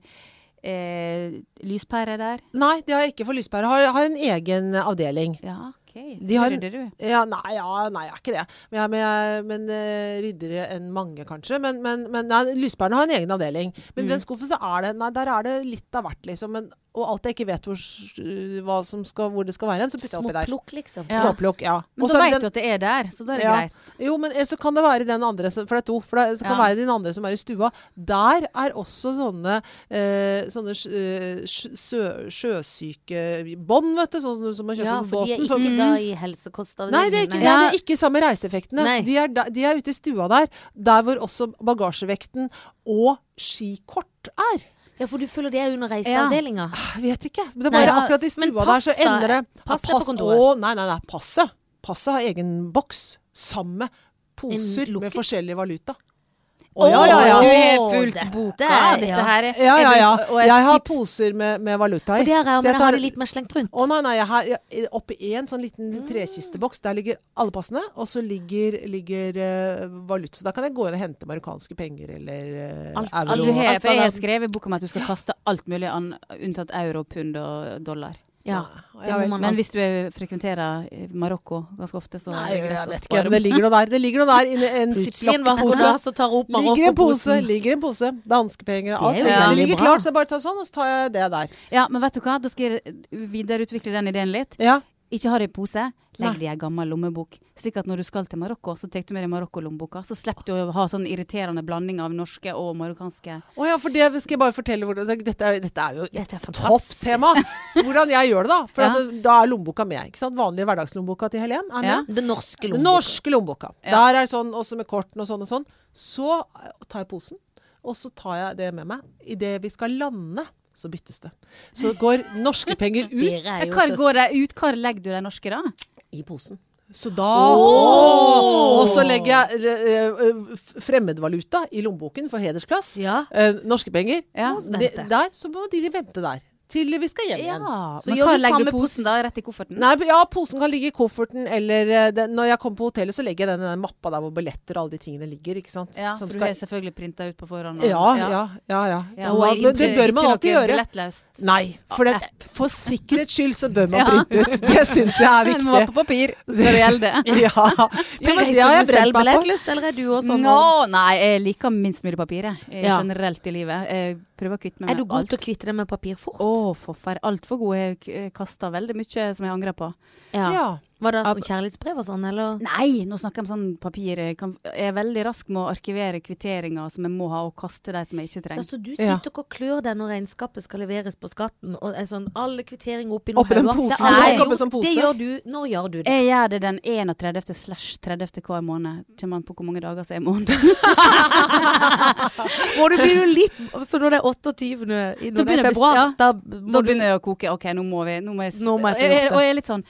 S3: eh, lyspærer der?
S1: Nei, det har jeg ikke for lyspære. Har, har en egen avdeling.
S3: Ja, OK.
S1: De har-
S3: Hører det, du.
S1: Ja, nei, ja, nei, jeg er ikke det. Men, jeg, men, jeg, men eh, ryddigere enn mange, kanskje. Men, men, men nei, lyspærene har en egen avdeling. Men i
S3: Mm.
S1: den skuffen så er det Nei, der er det litt av hvert, liksom. Men, og alt jeg ikke vet hvor, s- hva som skal, hvor det skal være, hen, så putter jeg oppi der.
S2: Småplukk, liksom.
S3: Ja.
S1: Småplukk. Ja.
S3: Men
S1: Og
S3: da
S1: så er
S3: vet
S1: det
S3: du at det er der, så da er det
S1: Ja.
S3: greit.
S1: Jo, men eh, så kan det være i den andre, som- for det er to. For det så kan
S3: Ja.
S1: være i den andre som er i stua. Der er også sånne, eh, sånne sj- eh, sj- sjø, sjøsyke bånd, vet du. Sånn som man kjøper
S2: Ja,
S1: på
S2: for de er
S1: båten.
S2: ikke da i helsekostavdelingen.
S1: Nei, det er ikke, nei, det er ikke samme reiseeffektene.
S2: Nei.
S1: De er, da- de er ute i stua der, der hvor også bagasjevekten og skikort er.
S2: Ja, for du føler det er under reiseavdelinga.
S1: Jeg vet ikke. Det er
S2: Nei,
S1: bare
S2: ja,
S1: akkurat i stua
S2: men
S1: der
S2: pass
S1: så
S2: da.
S1: ender det
S2: Pass er på kontoret.
S1: Å, nei, nei, nei. Passet. Passet har egen boks. Samme poser
S2: En
S1: med
S2: lukket.
S1: forskjellig valuta. Å,
S3: Å,
S1: ja, ja, ja.
S3: Du
S2: Å,
S3: har fulgt
S2: dette,
S3: boka.
S2: ja.
S3: Dette her er
S1: Ja, ja, ja.
S3: og- og et
S1: Jeg har
S3: tips-
S1: poser med, med valuta i.
S2: Og det har jeg,
S1: Så jeg
S2: men jeg har
S1: tar-
S2: det litt mer slengt rundt.
S1: Å nei, nei, jeg har jeg- oppi en sånn liten trekisteboks. Der ligger alle passene, og så ligger, ligger eh, valuta. Så da kan jeg gå inn og hente marokkanske penger eller eh,
S2: Alt-
S3: Ja,
S1: euro.
S3: du har,
S2: Alt
S3: for jeg har
S2: annet.
S3: skrevet i boka mi at du skal kaste alt mulig an, unntatt euro, pund og dollar.
S2: Ja.
S1: Ja,
S2: Det
S1: vel.
S2: må man
S3: Men
S2: alltid.
S3: hvis du er, frekventerer eh, Marokko ganske ofte, så
S1: Nei,
S3: er det
S1: jeg
S3: greit å
S1: vet ikke.
S3: spare.
S1: Men det ligger noe der. Det ligger noe der inni en
S2: Plutselig en vakker
S1: ziplock-pose.
S2: dag så tar hun opp
S1: Ligger en pose,
S2: Marokko-posen.
S1: ligger en pose. Danskepenger og alt.
S2: Det
S1: Det,
S2: er jo
S1: det
S2: veldig
S1: ligger
S2: bra.
S1: klart, så jeg bare tar sånn, og så tar jeg det der.
S3: Ja, men vet du hva? Da skal jeg videreutvikle den ideen litt.
S1: Ja.
S3: Ikke ha det i pose.
S1: Nei.
S3: Legg det i ei gammel lommebok, slik at når du skal til Marokko, så tar du med deg Marokko-lommeboka. Så slipper du å ha sånn irriterende blanding av norske og marokkanske.
S1: Å ja, for det skal jeg bare fortelle hvordan det- Dette er, dette er jo et
S2: Dette er
S1: topp
S2: fantastisk.
S1: tema! Hvordan jeg gjør det, da. For
S3: Ja.
S1: at, da er lommeboka med. ikke sant? Vanlige hverdagslommeboka til Helen er med.
S3: Ja.
S2: Den norske
S1: Den
S2: lommeboka.
S1: norske lommeboka.
S3: Ja.
S1: Der er sånn, også med kortene og sånn og sånn. Så eh, tar jeg posen, og så tar jeg det med meg. Idet vi skal lande, så byttes det. Så går norske penger ut
S2: Dere
S3: Så
S2: er jo
S3: Hvor
S2: søsken.
S3: går de ut? Hvor legger du de norske, da?
S1: i posen. Så da Og så legger jeg eh, eh, f- fremmedvaluta i lommeboken for hedersplass.
S2: Ja.
S1: Eh, norske penger.
S3: Ja,
S1: de,
S2: vente.
S1: der, så må de vente der. Til vi skal hjem igjen.
S2: Så
S3: Men
S2: gjør
S3: hva
S2: du
S3: legger
S2: samme
S3: du posen, da? Rett i kofferten?
S1: Nei, ja, posen kan ligge i kofferten, eller eh, den- når jeg kommer på hotellet, så legger jeg den i den mappa der hvor billetter og alle de tingene ligger. ikke sant?
S3: Ja,
S1: Som
S3: for du
S1: skal
S3: har selvfølgelig printa ut på forhånd. og-
S1: Ja, ja, ja. ja.
S3: Ja,
S1: Og
S3: og
S1: at- men det
S3: ikke-
S1: bør man
S3: ikke
S1: alltid
S3: noe
S1: gjøre.
S3: Billettløst.
S1: Nei, for, det, for sikkerhets skyld så bør man printe ut. Det syns jeg er
S3: Den må være
S1: viktig.
S3: på papir, så skal det gjelde.
S1: Ja, ja men det har jeg brent meg på.
S2: Selvbillettlyst, eller er du også sånn?
S3: Nå, nei, jeg liker minst mulig papir, jeg. jeg.
S2: Ja.
S3: Generelt i livet. Jeg prøver å kvitte meg
S2: Er du
S3: med
S2: god
S3: alt.
S2: til å kvitte deg med papir fort?
S3: Å, forferd. Altfor god. Jeg k- kaster veldig mye som jeg angrer på.
S2: Ja.
S3: liksom.
S1: Ja.
S2: Var det sånn kjærlighetsbrev og sånn, eller?
S3: Nei, nå snakker jeg om sånn papir. Jeg kan, jeg er veldig rask med å arkivere kvitteringer som jeg må ha, og kaste de som jeg ikke
S2: Ja,
S3: trenger.
S2: så du
S1: Ja.
S2: sitter og klør deg når regnskapet skal leveres på skatten, og er sånn alle kvitteringer oppi noen
S1: Oppi den
S2: hauger. Det
S1: posen.
S2: er aldri
S3: Nei.
S1: Oppi
S2: gjort.
S1: som pose.
S2: Det gjør du. Når gjør du det?
S3: Jeg gjør det den 31. slash 30. hver måned. Kommer an på hvor mange dager som er i måneden.
S2: Må du begynne litt Så når det er 28. i når det er
S3: Da begynner jeg å
S2: februar,
S3: bes- ja.
S2: da
S3: Da
S2: må du
S3: begynner jeg å koke. OK, nå må, vi, nå må jeg s-
S2: Nå må jeg få
S3: og jeg,
S2: gjort det.
S3: og jeg er litt sånn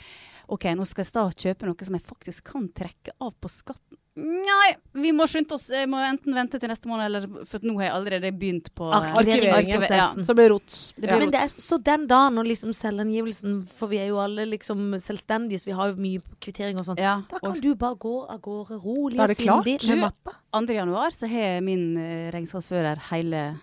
S3: OK, nå skal jeg sta kjøpe noe som jeg faktisk kan trekke av på skatten. Nei, vi må skynde oss. Jeg må enten vente til neste måned, eller for nå har jeg allerede begynt på
S2: Ah,
S3: eh,
S1: Arkiveringen.
S3: arkive- ja.
S1: Så blir rots.
S3: Det
S1: Ja.
S3: blir
S2: Men det er, så den dagen når liksom selvangivelsen For vi er jo alle liksom selvstendige, så vi har jo mye kvittering og sånn.
S3: Ja,
S2: Da
S3: og
S2: kan du bare gå av gårde rolig
S1: Da er
S2: og
S1: det klart.
S2: sindig
S3: Du-
S2: med mappa.
S3: 2. januar så har min eh, regnskapsfører hele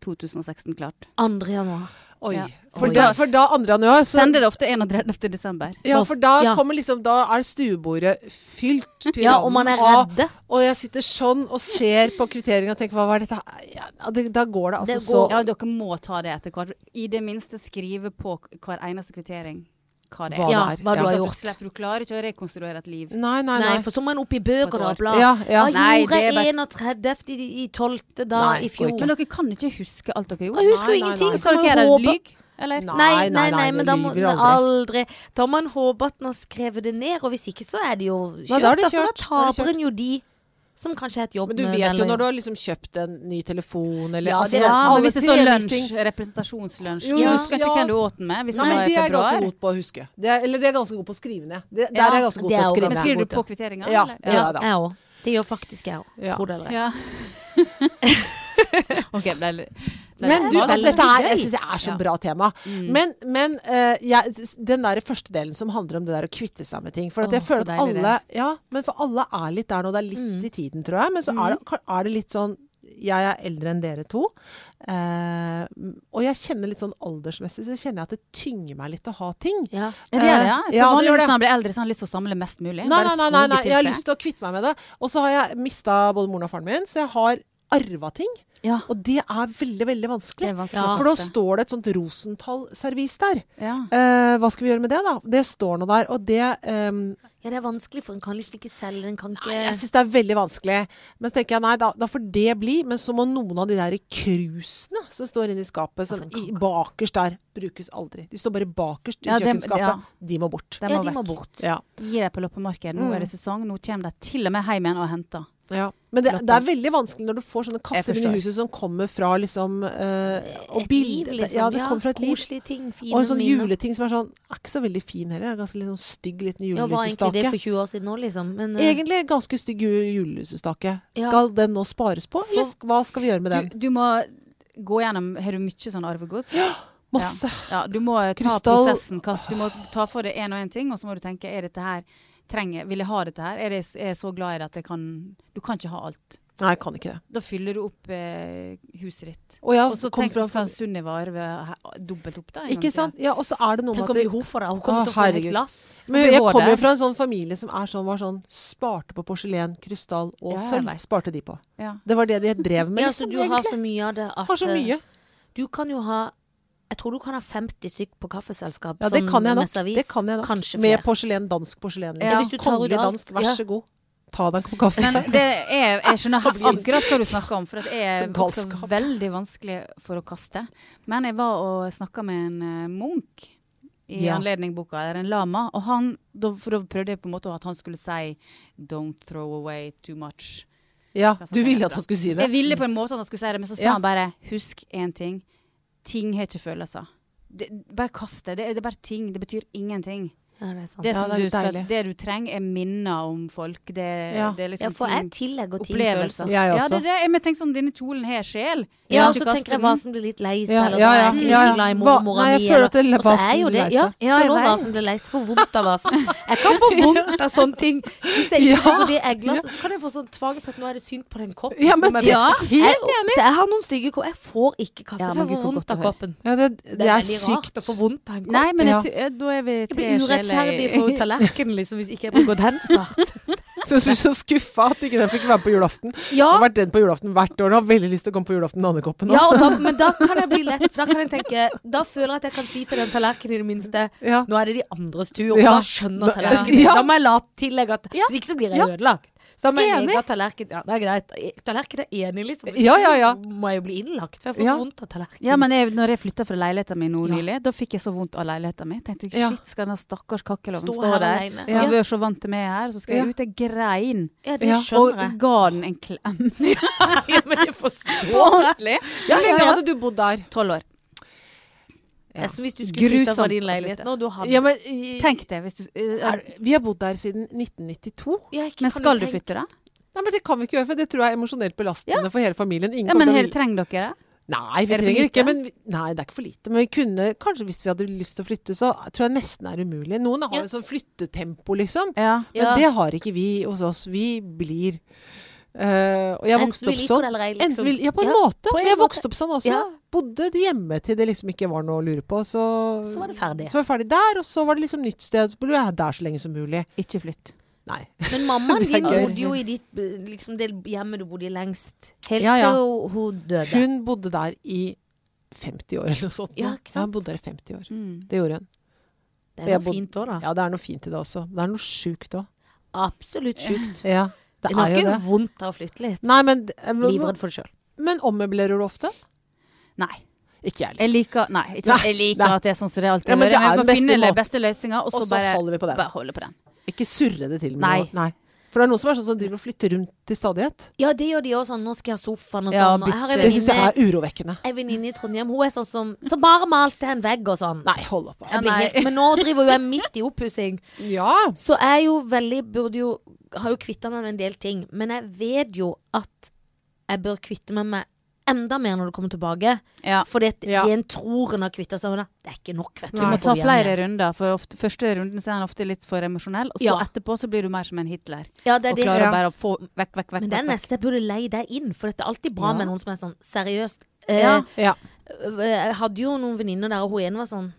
S3: 2016 klart.
S2: 2. januar.
S1: Oi.
S3: Ja.
S1: For,
S2: Oi.
S1: da, for da 2. januar så
S3: Sender det ofte 31. desember.
S1: ja, for da
S2: Ja.
S1: kommer liksom Da er stuebordet fylt til
S2: Ja, og man er
S1: randen av-
S2: redde.
S1: Og jeg sitter sånn og ser på kvitteringen og tenker hva var dette her? ja, det, Da går det altså
S2: Det
S1: så
S2: går-
S3: Ja, dere må ta det etter hvert. I det minste skrive på k- hver eneste kvittering hva det
S1: Hva
S3: er.
S2: Ja,
S1: det er. Ja.
S2: hva du har
S3: At du,
S2: gjort.
S3: slipper, du klarer ikke å rekonstruere et liv.
S1: Nei, nei, nei.
S2: Nei, for så må en opp i
S3: På et
S2: bøkene
S3: år.
S2: og bla.
S1: Ja, ja.
S2: Hva
S3: Nei, det
S2: gjorde
S3: er bare-
S2: jeg 31. i- i 12. da
S1: Nei,
S2: i
S1: går
S2: fjor?
S1: ikke.
S3: Men dere kan ikke huske alt dere
S2: Jeg
S3: gjorde.
S2: husker
S1: Nei, nei,
S2: jo ingenting.
S1: nei.
S2: så
S3: Så
S2: man
S3: dere er det
S2: håper-
S3: lyg, eller?
S1: Nei,
S2: Nei,
S1: nei,
S2: nei,
S1: nei,
S2: men
S1: det
S2: da må
S1: lyver
S2: man
S1: aldri.
S2: aldri Da må man håpe at man har skrevet det ned, og hvis ikke så er det jo kjørt.
S1: da er det
S2: altså,
S1: kjørt. Da
S2: da
S1: er det
S2: taper en jo de som kanskje har et jobb
S1: Men du vet jo når du har liksom kjøpt en ny telefon eller
S2: Ja,
S1: altså,
S2: det er- sånn
S3: Ja,
S1: alle
S3: men hvis det står
S1: tilgjengelighetsting-
S3: lunsj, representasjonslunsj
S1: Jo,
S3: Du
S2: ja.
S3: husker ikke
S1: ja.
S3: hvem du åt den med
S1: Nei,
S3: hvis det
S1: men
S3: var
S1: det
S3: i
S1: er jeg ganske
S3: februar.
S1: god på å huske. Det er, eller det er jeg ganske god på å skrive ned. Det, Der
S3: Ja,
S1: er jeg ganske god
S2: det
S1: på å
S2: er jo
S1: skrive
S3: Men
S1: ned.
S3: skriver du
S2: borte.
S3: på kvitteringa?
S1: Ja.
S3: eller?
S2: Ja,
S1: Ja da.
S2: jeg òg. Det gjør faktisk jeg òg.
S1: Ja.
S2: Tro det eller ei.
S3: Ja. OK, ble det
S1: Men du,
S2: var
S1: altså,
S2: veldig
S1: dette er, jeg
S2: gøy.
S1: synes det er så
S3: Ja. Mm.
S1: bra tema. Men, men eh, jeg, den der første delen som handler om det der å kvitte seg med ting. For at
S3: Åh,
S1: jeg føler
S3: så
S1: at
S3: deilig det. Mm.
S1: alle Ja, men for alle er litt der nå. Det er litt i tiden, tror jeg. Men så er det, er det litt sånn Jeg er eldre enn dere to. eh, og jeg kjenner litt sånn aldersmessig så kjenner jeg at det tynger meg litt å ha ting.
S2: Ja.
S3: Ja, det er
S1: Eh,
S3: det, ja. For
S1: ja, det
S3: vanligvis
S1: gjør det.
S3: når han blir eldre, så har han lyst til å samle mest mulig.
S1: Nei, nei, nei, nei, nei. jeg har lyst
S3: til
S1: til å kvitte meg med det. Og så har jeg mista både moren og faren min, så jeg har arva ting.
S3: ja.
S1: Og det er veldig, veldig vanskelig.
S3: Det er vanskelig
S2: Ja.
S3: å
S1: For da
S3: kaste.
S1: står det et sånt Rosenthal-servis der.
S3: ja.
S1: Eh, hva skal vi gjøre med det, da? Det står nå der, og det ehm,
S2: ja, det er vanskelig, for en kan liksom ikke selge, den kan ikke
S1: Nei, jeg syns det er veldig vanskelig. Men så tenker jeg nei, da, da får det bli. Men så må noen av de der krusene som står inne i skapet, som
S2: for en
S1: i,
S2: kake.
S1: bakerst der, brukes aldri. De står bare bakerst i
S3: Ja, dem- ja.
S1: kjøkkenskapet. De må bort.
S3: De
S2: Ja,
S3: må
S2: de må
S3: vekk.
S2: bort.
S1: Ja.
S3: Gi deg på loppemarked.
S1: Mm.
S3: Nå er det sesong. Nå kommer de til og med hjem igjen og henter.
S1: Ja. Men det,
S3: Loppen.
S1: det er veldig vanskelig når du får sånne kasser inn
S3: forstår.
S1: i huset som kommer fra liksom eh, og
S2: Et
S1: bild-
S2: liv, liksom.
S1: Ja, det kommer fra et liv.
S2: Koselige ting, fine
S1: Og en sånn
S2: minner.
S1: juleting som er sånn Er ikke så veldig fin heller. Det er Ganske litt sånn stygg liten
S2: Ja, var egentlig det
S1: julelysestake.
S2: for 20 år siden nå, liksom. Men, eh,
S1: Egentlig ganske stygg ju- julelysestake.
S2: Ja.
S1: Skal den nå spares på, eller sk- hva skal vi gjøre med den?
S3: Du, du må gå gjennom Har du mye sånn arvegods?
S1: Masse.
S3: Ja, du må ta
S1: Krystall-
S3: prosessen. Kast. Du må ta for deg én og én ting, og så må du tenke er dette her trenger, Vil jeg ha dette her? Er, det, er jeg så glad i det at jeg kan Du kan ikke ha alt.
S1: Nei, jeg kan ikke det.
S3: Da fyller du opp eh, huset ditt.
S1: Og, jeg
S3: Og så
S1: kom
S3: tenk så
S1: fra-
S3: skal Sunniva arve he- dobbelt opp, da. en gang
S1: Ikke
S3: til.
S1: sant? Ja, og så er det noe
S2: Tenk
S1: med
S2: om
S1: at
S2: vi
S1: det,
S2: hun får det. Hun kommer
S1: Å,
S2: til å få et
S1: herregud.
S2: helt glass.
S1: men
S3: vi
S1: Jeg
S3: går
S1: kommer
S3: der.
S1: jo fra en sånn familie som er sånn, var sånn sparte på porselen, krystall og
S3: Ja, jeg
S1: sølv.
S3: vet.
S1: Sparte de på.
S3: Ja.
S1: Det var det de drev med,
S2: Ja, så
S1: liksom,
S2: du har
S1: egentlig.
S2: så mye av det at
S1: Har så
S2: eh,
S1: mye.
S2: Du kan jo ha Jeg tror du kan ha 50 stykk på kaffeselskap
S1: Ja, det
S2: som
S1: kan jeg nok.
S2: messervis.
S1: Det kan jeg nok.
S2: Kanskje
S1: Med
S2: flere.
S1: porselen, dansk porselen.
S3: Ja,
S2: hvis du tar ut
S1: Kongelig
S2: alt,
S1: dansk, vær
S2: ja.
S1: så god. Ta deg en kopp kaffe.
S3: Men det er, jeg skjønner akkurat hva du snakker om, for det
S1: Som
S3: er også
S1: galskap.
S3: veldig vanskelig for å kaste. Men jeg var og snakka med en eh, munk i
S1: Ja.
S3: anledning boka, eller en lama, og han, da, for da prøvde jeg på en måte at han skulle si 'don't throw away too much'.
S1: Ja,
S3: Det er sant,
S1: du ville
S3: det er
S1: at han skulle si det.
S3: Jeg ville på en måte at han skulle si det, men så sa
S1: Ja.
S3: han bare 'husk én ting, ting har ikke følelser'. Det, bare kast det. Det er, det er bare ting. Det betyr ingenting.
S2: Ja, det er sant.
S3: Det,
S1: Ja,
S3: som
S1: det er
S3: du, skal,
S1: deilig.
S3: det du trenger, er minner om folk. Det,
S1: Ja.
S3: det er liksom
S2: ja, for
S3: ting-
S2: jeg tillegger ting
S3: opplevelser.
S2: følelser.
S1: Jeg
S3: Ja,
S1: også.
S3: det er det. Jeg men tenker sånn, denne kjolen har sjel.
S2: Ja,
S3: Kan
S2: og
S3: ikke
S2: så
S3: kaste
S2: tenker jeg
S3: den.
S2: Vasen blir litt lei seg,
S1: Ja,
S2: eller
S1: ja,
S2: bare
S1: ja,
S2: er ikke
S1: ja, ja.
S2: like glad i
S1: Hva-
S2: mormora
S1: nei, jeg
S2: mi,
S1: føler
S2: eller-
S1: at det er
S2: Og så
S1: Vasen
S2: er jo
S1: blir lei
S2: det. Ja,
S1: seg.
S3: Ja, jeg
S2: føler
S3: vet.
S2: Vasen blir lei seg. Får vondt av Vasen. Jeg kan få vondt av sånne ting. Hvis jeg ikke
S1: Ja.
S2: får det egglasset, så kan jeg få sånn tvangst at nå er det synd på den koppen.
S1: Ja,
S2: som
S1: men
S2: er-
S3: Ja.
S2: Jeg,
S1: helt enig.
S2: så jeg har noen stygge kopper. Jeg får ikke kasse,
S3: Ja,
S2: for
S3: men
S2: jeg får
S3: gud, hvor
S2: vondt
S3: godt
S2: av
S3: å høre.
S2: koppen.
S1: Ja, det, det,
S2: er
S1: er
S2: litt rart
S1: sykt.
S2: å få vondt av en kopp.
S3: Nei, men
S1: Ja.
S3: jeg, tror- da er vi
S2: Jeg
S3: tre
S2: blir
S3: sjeler
S2: urettferdig
S3: i
S2: for tallerkenen liksom, hvis ikke jeg bruker den snart.
S1: Så jeg blir så skuffa at ikke den fikk være på julaften.
S2: Ja,
S1: Jeg har vært den på julaften hvert år og har veldig lyst til å komme på julaften med Annekoppen nå.
S2: ja og da, men da kan jeg bli lett for Da kan jeg tenke Da føler jeg at jeg kan si til den tallerkenen i det minste
S1: Ja.
S2: Nå er det de andres tur, og
S1: Ja.
S2: da skjønner
S1: Ja.
S2: tallerkenen
S1: Ja.
S2: Da må jeg la tillegge at
S1: Ja.
S2: Hvis ikke så blir jeg
S1: Ja.
S2: ødelagt. Så da må jeg
S1: Enig.
S2: legge av tallerkenen Ja, det er greit. Tallerkenen er enig, liksom. Hvis
S1: Ja,
S2: ikke
S1: ja, ja.
S2: så Må jeg jo bli innlagt, for jeg får
S1: Ja.
S2: så vondt av tallerkenen.
S3: Ja, men jeg, når jeg flytta fra leiligheten min nå
S2: Ja.
S3: nylig, da fikk jeg så vondt av leiligheten min. Tenkte jeg,
S1: Ja.
S3: shit, skal den stakkars kakkeloven
S2: Stå
S3: stå,
S2: her
S3: der?
S2: alene.
S3: Ja.
S2: Ja.
S3: Jeg var så vant til meg her, så skal
S1: Ja.
S3: jeg ut. Jeg grein.
S2: Ja,
S1: Ja.
S2: det
S3: Og
S2: skjønner jeg.
S3: ga den en klem.
S2: Ja, men jeg forstår.
S3: Ordentlig.
S1: Hvor lenge hadde du bodd der?
S3: Tolv år.
S2: Ja. Som hvis du skulle flytte fra
S3: Grusomt
S2: din
S3: å
S2: leilighet
S3: flytte.
S2: nå. Du hadde,
S1: Ja, men, i-
S3: Tenk det hvis du eh,
S1: er, vi har bodd der siden 1992.
S2: Ja, ikke-
S3: Men
S2: kan
S3: skal du
S2: tenke-
S3: flytte, da?
S1: Nei, men Det kan vi ikke gjøre, for det tror jeg er emosjonelt belastende for hele familien. Ingen
S3: Ja, men
S1: kommer til å
S3: her trenger dere det.
S1: Nei, vi
S3: Er det for
S1: trenger
S3: lite?
S1: ikke. Men vi, nei, det er ikke for lite. Men vi kunne kanskje, hvis vi hadde lyst til å flytte, så tror jeg nesten er umulig. Noen har
S2: Ja.
S1: jo sånn flyttetempo, liksom.
S3: Ja.
S2: Ja.
S1: Men det har ikke vi hos oss. Vi blir eh, Og jeg
S2: Enten
S1: vokste
S2: du
S1: opp
S2: liker
S1: sånn.
S2: det eller ei, liksom.
S1: Enten vil, ja, på en
S2: Ja,
S1: måte.
S2: på en
S1: jeg
S2: måte.
S1: vokste opp sånn også.
S2: Ja.
S1: Bodde hjemme til det liksom ikke var noe å lure på. Så,
S2: Så var det ferdig.
S1: så var det ferdig der, og så var det liksom nytt sted. Så ble jeg der så lenge som mulig.
S3: Ikke flytt.
S1: Nei.
S2: Men mammaen
S1: Det er
S2: din
S1: gøy.
S2: bodde jo i ditt, eh, liksom det hjemmet du bodde i lengst. Helt
S1: Ja, ja.
S2: til hun døde.
S1: Hun bodde der i 50 år eller noe sånt.
S2: Ja, ikke sant?
S1: hun bodde der i 50 år.
S3: Mm.
S1: Det gjorde hun.
S2: det er
S1: jeg
S2: noe
S1: bod-
S2: fint òg, da.
S1: Ja, det er noe fint i det også. Det er noe sjukt òg.
S2: Absolutt sjukt.
S1: Ja, det
S2: Hun har
S1: er jo
S2: ikke
S1: det.
S2: vondt av å flytte litt.
S1: Nei, men, eh, men,
S2: Livredd for det sjøl.
S1: men ommøblerer du ofte?
S3: Nei.
S1: Ikke jeg.
S3: Jeg liker, nei, ikke sant?
S1: Nei,
S3: Jeg liker
S1: nei.
S3: at det er sånn som det alltid
S1: Ja, men
S3: hører.
S1: det
S3: Vi
S1: er
S3: må
S1: den beste
S3: finne de
S1: måten.
S3: beste løsninga, og
S1: Og
S3: så
S1: så
S3: bare
S1: holder vi på den.
S3: bare holde på den.
S1: Ikke surre det til med
S3: Nei.
S1: noe. Nei. For det er noen som er sånn som driver og flytter rundt til stadighet.
S2: Ja, det gjør de òg sånn. Nå skal jeg ha sofaen og
S3: Ja,
S2: sånn. Og her
S3: bytte.
S2: er
S1: Det syns jeg
S2: venninne
S1: er urovekkende.
S2: Ei venninne i Trondheim Hun er sånn som Som bare malte en vegg og sånn.
S1: Nei, hold opp.
S2: Jeg blir
S3: nei.
S2: helt- Men nå driver jo jeg midt i oppussing.
S1: Ja.
S2: Så jeg er jo veldig Burde jo Har jo kvitta meg med en del ting. Men jeg vet jo at jeg bør kvitte meg med enda mer når du kommer tilbake.
S3: Ja.
S2: For det,
S1: Ja.
S2: det en tror en har kvitta seg med, det, det er ikke nok. vet du.
S3: Du
S1: Nei.
S3: må
S2: får
S3: ta
S2: det
S3: flere
S2: igjen.
S3: runder, for ofte, første runden så er han ofte litt for emosjonell, og så
S2: Ja.
S3: etterpå så blir du mer som en Hitler.
S2: Ja, det er
S3: Og
S2: det.
S3: klarer
S1: Ja.
S3: bare å få vekk, vekk, vekk.
S2: Men det er
S3: vekk, vekk.
S2: neste jeg burde leie deg inn, for det er alltid bra
S1: Ja.
S2: med noen som er sånn seriøst. Eh,
S3: Ja.
S1: ja.
S2: øh, Jeg hadde jo noen venninner der, og hun ene var sånn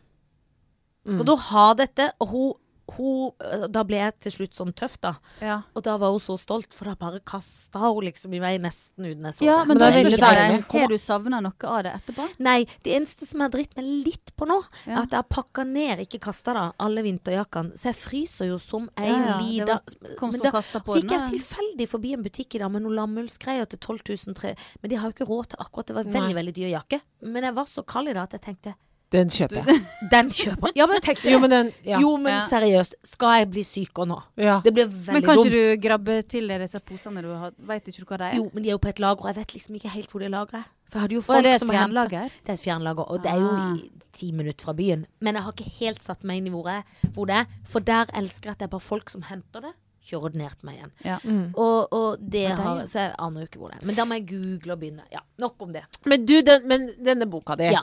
S3: Mm.
S2: Skal du ha dette? Og hun, hun øh, Da ble jeg til slutt sånn tøff, da.
S3: Eh, Ja.
S2: Og da var hun så stolt, for da bare kasta hun liksom i vei nesten uten jeg så
S3: Ja,
S2: det.
S1: Men
S3: men da
S1: det er
S3: er
S1: veldig
S3: ikke det.
S1: deilig. Kom,
S3: Har du savna noe av det etterpå?
S2: Nei, det eneste som jeg driter meg litt på nå, er
S3: Ja.
S2: at jeg har pakka ned, ikke kasta da, alle vinterjakkene. Så jeg fryser jo som ei
S3: Ja, ja, det
S2: lita
S3: var- kom
S2: Men
S3: som
S2: da
S3: kastet på
S2: så gikk jeg
S3: den, da.
S2: tilfeldig forbi en butikk i dag med noen lammullsgreier til 12.300, men de har jo ikke råd til akkurat det. var en
S1: Nei.
S2: veldig, veldig dyr jakke. Men jeg var så kald i dag at jeg tenkte
S1: Den kjøper jeg.
S2: den kjøper jeg. Ja, men jeg tenkte
S1: Jo, men den Ja.
S2: Jo, men
S3: Ja.
S2: seriøst, skal jeg bli syk og nå?
S1: ja.
S2: Det blir veldig
S3: Men kan
S2: dumt.
S3: ikke du grabbe til deg disse posene du har? Veit ikke du hva de er?
S2: Jo, men de er jo på et lager, og jeg vet liksom ikke helt hvor de lagrer. For jeg hadde jo
S3: Å,
S2: folk
S3: er det et
S2: som hentet-
S3: fjernlager?
S2: Det er et fjernlager, og det er jo
S3: Ah.
S2: i ti minutter fra byen. Men jeg har ikke helt satt meg inn i hvor, jeg, hvor det er, for der elsker jeg at det er bare folk som henter det, kjører det ned til meg igjen.
S3: Ja.
S2: Og, og det
S3: Ja, Mm. det er
S2: har,
S3: jo-
S2: så jeg aner jo ikke hvor det er. Men da må jeg google og begynne. Ja, nok om det.
S1: Men du, den, men denne boka di.
S2: Ja.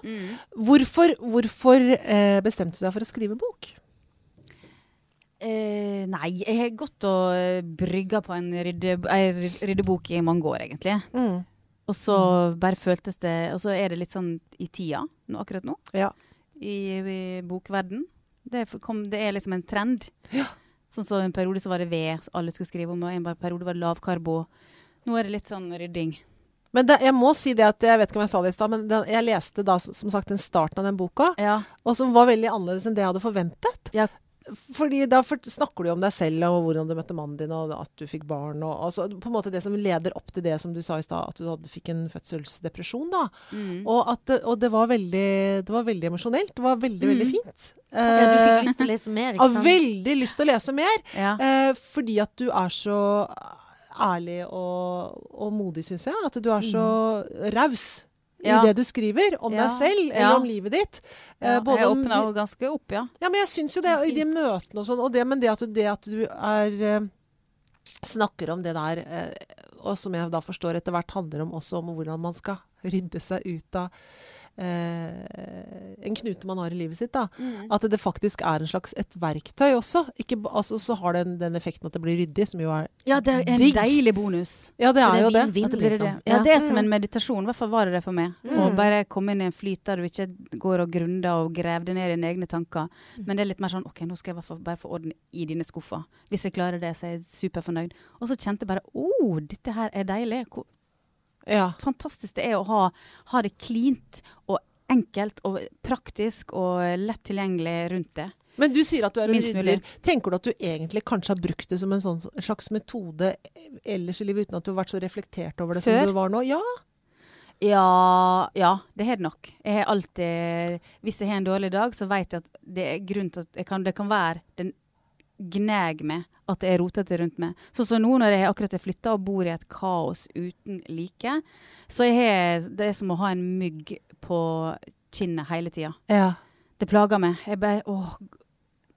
S1: Hvorfor, hvorfor eh, bestemte du deg for å skrive bok?
S3: Eh, nei, jeg har gått og eh, brygga på en rydde, ei ryd- ryddebok i mange år, egentlig.
S2: Mm.
S3: Og så bare føltes det Og så er det litt sånn i tida nå, akkurat nå,
S1: Ja.
S3: i, i bokverden. Det, f- kom, det er liksom en trend.
S1: Ja.
S3: Sånn som en periode så var det ved alle skulle skrive om, og en bare periode var det lavkarbo. Nå er det litt sånn rydding.
S1: Men det, jeg må si det at jeg vet ikke om jeg sa det i stad, men den, jeg leste da som sagt den starten av den boka,
S3: Ja.
S1: og som var veldig annerledes enn det jeg hadde forventet.
S3: Ja.
S1: Fordi da fort- snakker du jo om deg selv og hvordan du møtte mannen din og at du fikk barn og altså, på en måte det som leder opp til det som du sa i stad, at du hadde, fikk en fødselsdepresjon da.
S3: Mm.
S1: Og, at, det- og det var veldig, det var veldig emosjonelt. Det var veldig, veldig fint.
S2: Mm. Ja, du
S1: Eh,
S2: fikk lyst til å lese mer, ikke
S1: har
S2: sant?
S1: veldig lyst til å lese mer,
S3: Ja.
S1: eh, fordi at du er så ærlig og, og modig, syns jeg. At du er så
S2: Mm.
S1: raus.
S3: Ja.
S1: I det du skriver om
S3: Ja.
S1: deg selv eller
S3: Ja.
S1: om livet ditt. Eh,
S3: ja.
S1: både
S3: jeg
S1: om-
S3: åpna jo ganske opp, ja.
S1: ja, men jeg syns jo det, og i de møtene og sånn, og det, men det at, du- det at du er eh, Snakker om det der, eh, og som jeg da forstår etter hvert handler om også om hvordan man skal rydde seg ut av eh, en knute man har i livet sitt, da. At det faktisk er en slags et verktøy også. Ikke, ba- altså, så har den den effekten at det blir ryddig, som jo er
S3: Ja, det er en
S1: Digg.
S3: deilig bonus.
S1: Ja, det
S2: Så
S1: er jo det.
S2: vinn-vinn,
S3: At det blir det.
S2: liksom.
S3: Ja, mm. det er som en meditasjon. I hvert fall var det det for meg. Å bare komme inn i en flyt der du ikke går og grunder og graver deg ned i dine egne tanker. Men det er litt mer sånn OK, nå skal jeg i hvert fall bare få orden i dine skuffer. Hvis jeg klarer det, så er jeg superfornøyd. Og så kjente jeg bare Å, oh, dette her er deilig. Hvor
S1: Ja.
S3: fantastisk det er å ha, ha det cleant og enkelt og praktisk og lett tilgjengelig rundt det.
S1: Men du sier at du er en
S3: Minst mulig.
S1: rydder. Tenker du at du egentlig kanskje har brukt det som en sånn slags metode ellers i livet, uten at du har vært så reflektert over det
S3: Før?
S1: som du var nå? Ja.
S3: Ja, ja det har det nok. Jeg har alltid Hvis jeg har en dårlig dag, så vet jeg at det er grunn til at jeg kan, det kan være den gneg meg at det er rotete rundt meg. Sånn som nå når jeg akkurat har flytta og bor i et kaos uten like, så jeg har det er som å ha en mygg på kinnet hele tida.
S1: ja.
S3: Det plager meg. Jeg bare åh,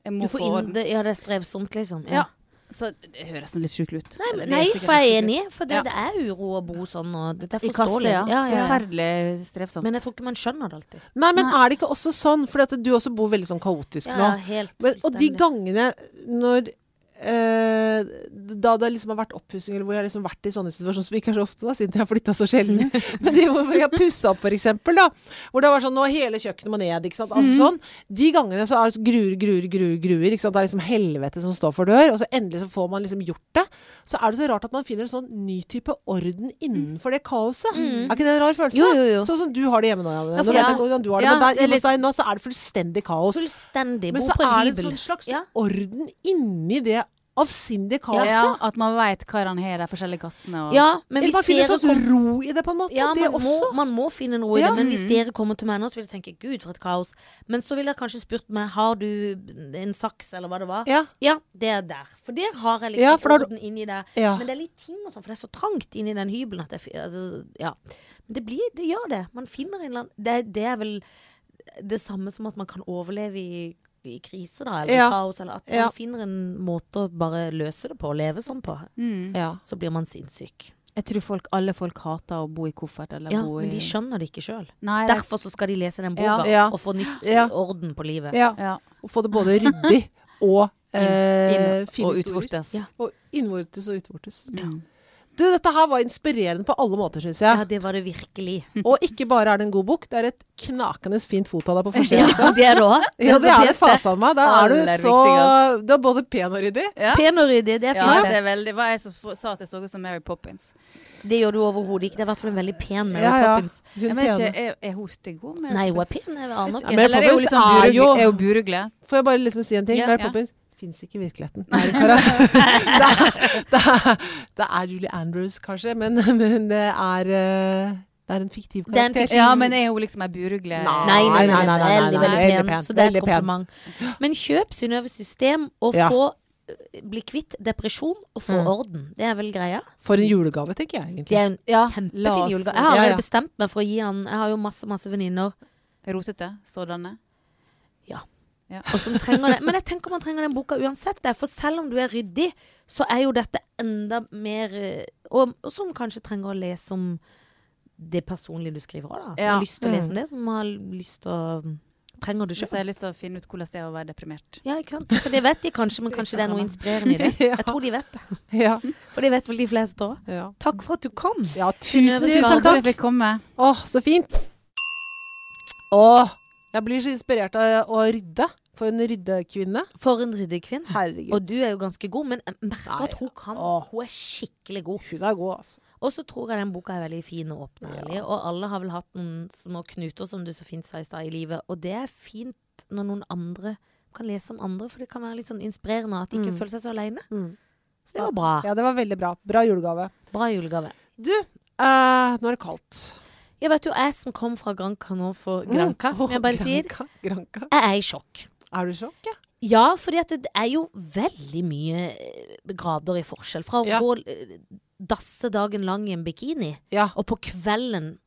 S3: jeg må
S2: Du får
S3: få
S2: inn
S3: orden.
S2: det Ja, det er strevsomt, liksom.
S3: Ja. Så det høres sånn litt sjukt ut.
S2: Nei,
S3: Eller
S2: men,
S3: det
S2: nei,
S3: sikkert
S2: for jeg er
S3: sjukt ut.
S2: enig. For det,
S3: Ja.
S2: det er uro å bo sånn, og det er
S3: I kasse,
S2: forståelig.
S3: ja.
S2: Ja, ja, ja.
S3: Forferdelig strevsomt.
S2: Men jeg tror ikke man skjønner det alltid.
S1: Nei, men
S3: Nei.
S1: er det ikke også sånn, for at du også bor veldig sånn kaotisk
S2: Ja,
S1: nå.
S2: helt
S1: Men, og de
S2: fullstendig.
S1: gangene når eh, da det liksom har vært oppussing, eller hvor jeg har liksom vært i sånne situasjoner som ikke er så ofte, da, siden jeg har flytta så sjelden. Men de hvor vi har pussa opp, for eksempel, da, hvor det var sånn Nå er hele kjøkkenet må ned, ikke sant. Altså
S2: Mhm.
S1: sånn. De gangene så er det så gruer, gruer, gruer, gruer. Ikke sant? Det er liksom helvete som står for dør. Og så endelig så får man liksom gjort det. Så er det så rart at man finner en sånn ny type orden innenfor det kaoset. Er ikke det en rar følelse?
S2: Mm. Jo, jo, jo.
S1: Sånn som du har det hjemme nå, Janne.
S2: Ja, for
S1: Nå vet
S2: ja.
S1: jeg hvordan du har det,
S3: Ja,
S1: men der,
S3: det er
S1: hjemme
S3: litt-
S1: hos deg nå så er det fullstendig kaos.
S2: Fullstendig.
S1: Men
S2: Bo
S1: så
S2: på en
S1: er det en
S2: hybel.
S1: sånn slags
S2: Ja.
S1: orden inni det avsindige
S3: ja,
S1: kaoset.
S3: ja, at man veit hva han har i de forskjellige kassene. Og,
S2: Ja, men
S1: Eller
S2: hvis
S1: man finner
S2: dere
S1: en sånn ro i det, på en måte.
S2: Ja,
S1: det
S2: man må,
S1: også.
S2: man må finne noe i
S1: Ja.
S2: det. Men hvis
S3: Mm.
S2: dere kommer til meg nå, så vil jeg tenke 'gud, for et kaos'. Men så ville jeg kanskje spurt meg 'har du en saks', eller hva det var.
S1: Ja.
S2: det er der. For der har jeg
S1: Ja, for da
S2: liksom
S1: har du-
S2: orden inni der.
S1: Ja.
S2: Men det er litt ting og sånn, for det er så trangt inni den hybelen at jeg fi- altså, Ja. Men det blir Det gjør det. Man finner en eller annen det, det er vel det samme som at man kan overleve i i krise, da, eller
S1: Ja.
S2: kaos, eller at man
S1: Ja.
S2: finner en måte å bare løse det på, leve sånn på.
S3: Mm.
S1: Ja.
S2: Så blir man sinnssyk.
S3: Jeg tror folk, alle folk hater å bo i koffert eller
S2: Ja,
S3: bo i
S2: men de skjønner det ikke sjøl.
S3: Nei, det-
S2: Derfor så skal de lese den
S3: Ja.
S2: boka
S1: Ja.
S2: og få nytt
S1: Ja.
S2: orden på livet.
S1: ja.
S3: ja.
S1: Og få det både ryddig og eh,
S3: Inn-
S1: fine
S3: og
S1: historier.
S3: utvortes.
S2: Ja.
S1: Og innvortes og utvortes.
S3: Mm.
S1: Du, dette her var inspirerende på alle måter, syns jeg.
S2: Ja, det var det virkelig.
S3: Mm.
S1: Og ikke bare er det en god bok, det er et knakende fint fot av deg på forsida.
S2: Ja, det er det òg.
S1: Ja, det er det fasen meg. Da er du
S3: Aller
S1: så Du er både pen og ryddig.
S3: Ja.
S2: Pen og ryddig, det er
S3: Ja,
S2: fint.
S3: det, er veldig, det var jeg som f- sa at jeg så ut som Mary Poppins.
S2: det. Det gjør du overhodet ikke. Det er i hvert fall en veldig pen Mary
S1: Ja, ja.
S2: Poppins.
S1: Hun
S3: Jeg vet
S1: pene.
S3: ikke, er, er hun stygg, hun? Mary
S2: Nei, hun er
S3: Poppins?
S2: pen. Jeg aner
S1: Ja,
S2: ikke.
S1: men-
S3: Eller er hun
S1: Poppins
S3: liksom
S1: er jo-
S3: burugle? Er hun burugle?
S1: Får jeg bare liksom si en ting?
S2: Ja.
S1: Mary
S3: Ja.
S1: Poppins fins ikke i virkeligheten. det, er, det, er, det er Julie Andrews, kanskje, men, men det er eh, Det er en fiktiv
S2: Det er en
S1: karakter.
S2: fiktiv-
S3: Ja, men er hun liksom ei burugle?
S2: Nei, nei, nei,
S1: nei, nei,
S2: veldig,
S1: nei,
S2: veldig
S1: veldig
S2: pen.
S1: pen,
S2: Så det er
S1: veldig
S2: et
S1: pen.
S2: kompliment. Men kjøp Synnøve System og
S1: Ja. Mm.
S2: få eh, bli kvitt depresjon og få orden. Det er vel greia?
S1: For en julegave, tenker jeg
S2: Det
S1: egentlig.
S2: er en
S3: Ja, la
S2: kjempefin
S3: oss-
S2: julegave. Jeg
S3: Ja,
S2: har
S1: ja.
S2: allerede bestemt meg for å gi han Jeg har jo masse, masse venninner
S3: Rotete sådanne?
S2: og som trenger det. Men jeg tenker man trenger den boka uansett. det. For selv om du er ryddig, så er jo dette enda mer eh, Og, og som kanskje trenger å lese om det personlige du skriver òg, da. Som
S3: Ja.
S2: har lyst til å lese om det, som har lyst til å mm, Trenger det
S3: Hvis jeg
S2: sjøl.
S3: har lyst til å finne ut hvordan det er å være deprimert.
S2: Ja, ikke sant? For det vet de kanskje, men kanskje det er noe inspirerende i det. Jeg tror de vet det.
S1: Ja,
S2: For det vet vel de fleste òg.
S1: ja.
S2: Takk for at du kom.
S1: ja tusen,
S2: Tusen
S1: tusen
S3: Tusen takk for at
S1: takk!
S3: jeg fikk komme.
S1: Å, så fint! Åh, jeg blir så inspirert av å rydde. For en ryddekvinne.
S2: For en ryddig kvinne.
S1: Herregud.
S2: Og du er jo ganske god, men jeg merker at hun kan.
S1: Åh.
S2: Hun er skikkelig god.
S1: Hun er god, altså.
S2: Og så tror jeg den boka er veldig fin og åpen og ærlig. Og alle har vel hatt noen små knuter, som du så fint sa i stad, i livet. Og det er fint når noen andre kan lese om andre, for det kan være litt sånn inspirerende at de ikke føler seg så aleine.
S1: Mm.
S2: Så det var bra.
S1: Ja, det var veldig bra. Bra julegave.
S2: Bra julegave.
S1: Du, eh, nå er det kaldt.
S2: Jeg vet jo jeg som kom fra Granca nå for
S1: Mm.
S2: Granca, som jeg bare sier.
S1: Granka, Granka.
S2: Jeg er i sjokk.
S1: Er du i sjokk? Ja?
S2: Ja, fordi at det er jo veldig mye eh, grader i forskjell. Fra å
S1: Ja.
S2: gå eh, dasse dagen lang i en bikini,
S1: Ja.
S2: og på kvelden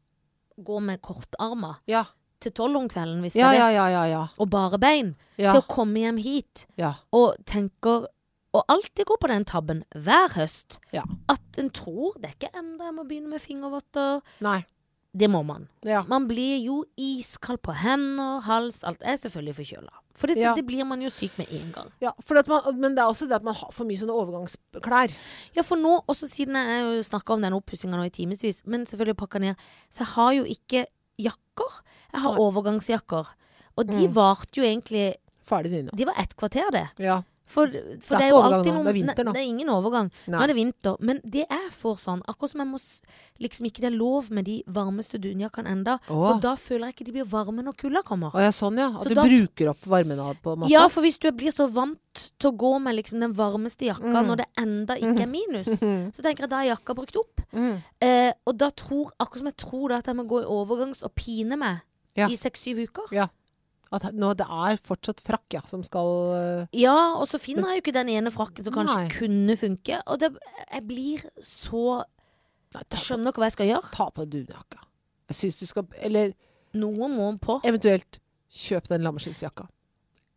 S2: gå med kortarmer
S1: Ja.
S2: til tolv om kvelden, hvis det
S1: Ja,
S2: er det.
S1: ja, ja, ja, ja.
S2: og bare bein
S1: Ja.
S2: til å komme hjem hit
S1: ja.
S2: og tenker og alltid går på den tabben hver høst.
S1: Ja.
S2: At en tror det er ikke enda jeg må begynne med fingervotter.
S1: Nei.
S2: Det må man.
S1: Ja.
S2: Man blir jo iskald på hender, hals, alt. Jeg er selvfølgelig forkjøla. For det,
S1: Ja.
S2: det blir man jo syk med en gang.
S1: ja for at man, men det er også det at man har for mye sånne overgangsklær.
S2: Ja, for nå, også siden jeg snakka om den oppussinga nå i timevis, men selvfølgelig pakka ned, så jeg har jo ikke jakker. Jeg har
S1: Nei. Mm.
S2: overgangsjakker. Og de varte jo egentlig
S1: Ferdig dine.
S2: De var ett kvarter, det.
S1: Ja.
S2: For, for det, er
S1: ikke
S2: jo
S1: overgang
S2: alltid
S1: nå,
S2: noen
S1: det er vinter nå.
S2: Nei, det er ingen overgang. Nå
S1: Nei.
S2: er det vinter. Men det er for sånn. Akkurat som jeg må s- liksom ikke det er lov med de varmeste dunjakkene enda.
S1: Åh.
S2: For da føler jeg ikke de blir varme når kulda kommer.
S1: Å ja, sånn ja. At
S2: Så
S1: du
S2: da-
S1: bruker opp varmen av på en måte.
S2: Ja, for hvis du blir så vant til å gå med liksom den varmeste jakka
S1: Mm.
S2: når det enda
S1: Mm-hmm.
S2: ikke er minus, så tenker jeg da er jakka brukt opp.
S1: Mm.
S2: Eh, og da tror akkurat som jeg tror da at jeg må gå i overgangs og pine meg
S1: Ja.
S2: i seks-syv uker.
S1: Ja. At he- nå, det er fortsatt frakk ja, som skal øh,
S2: Ja, og så finner jeg jo ikke den ene frakken som kanskje
S1: Nei.
S2: kunne funke. Og det, jeg blir så
S1: Nei, ta, på,
S2: Jeg skjønner ikke hva jeg skal gjøre.
S1: ta på dunjakka. Jeg syns du skal Eller
S2: Noe må på.
S1: eventuelt Kjøp den lammeskinnsjakka.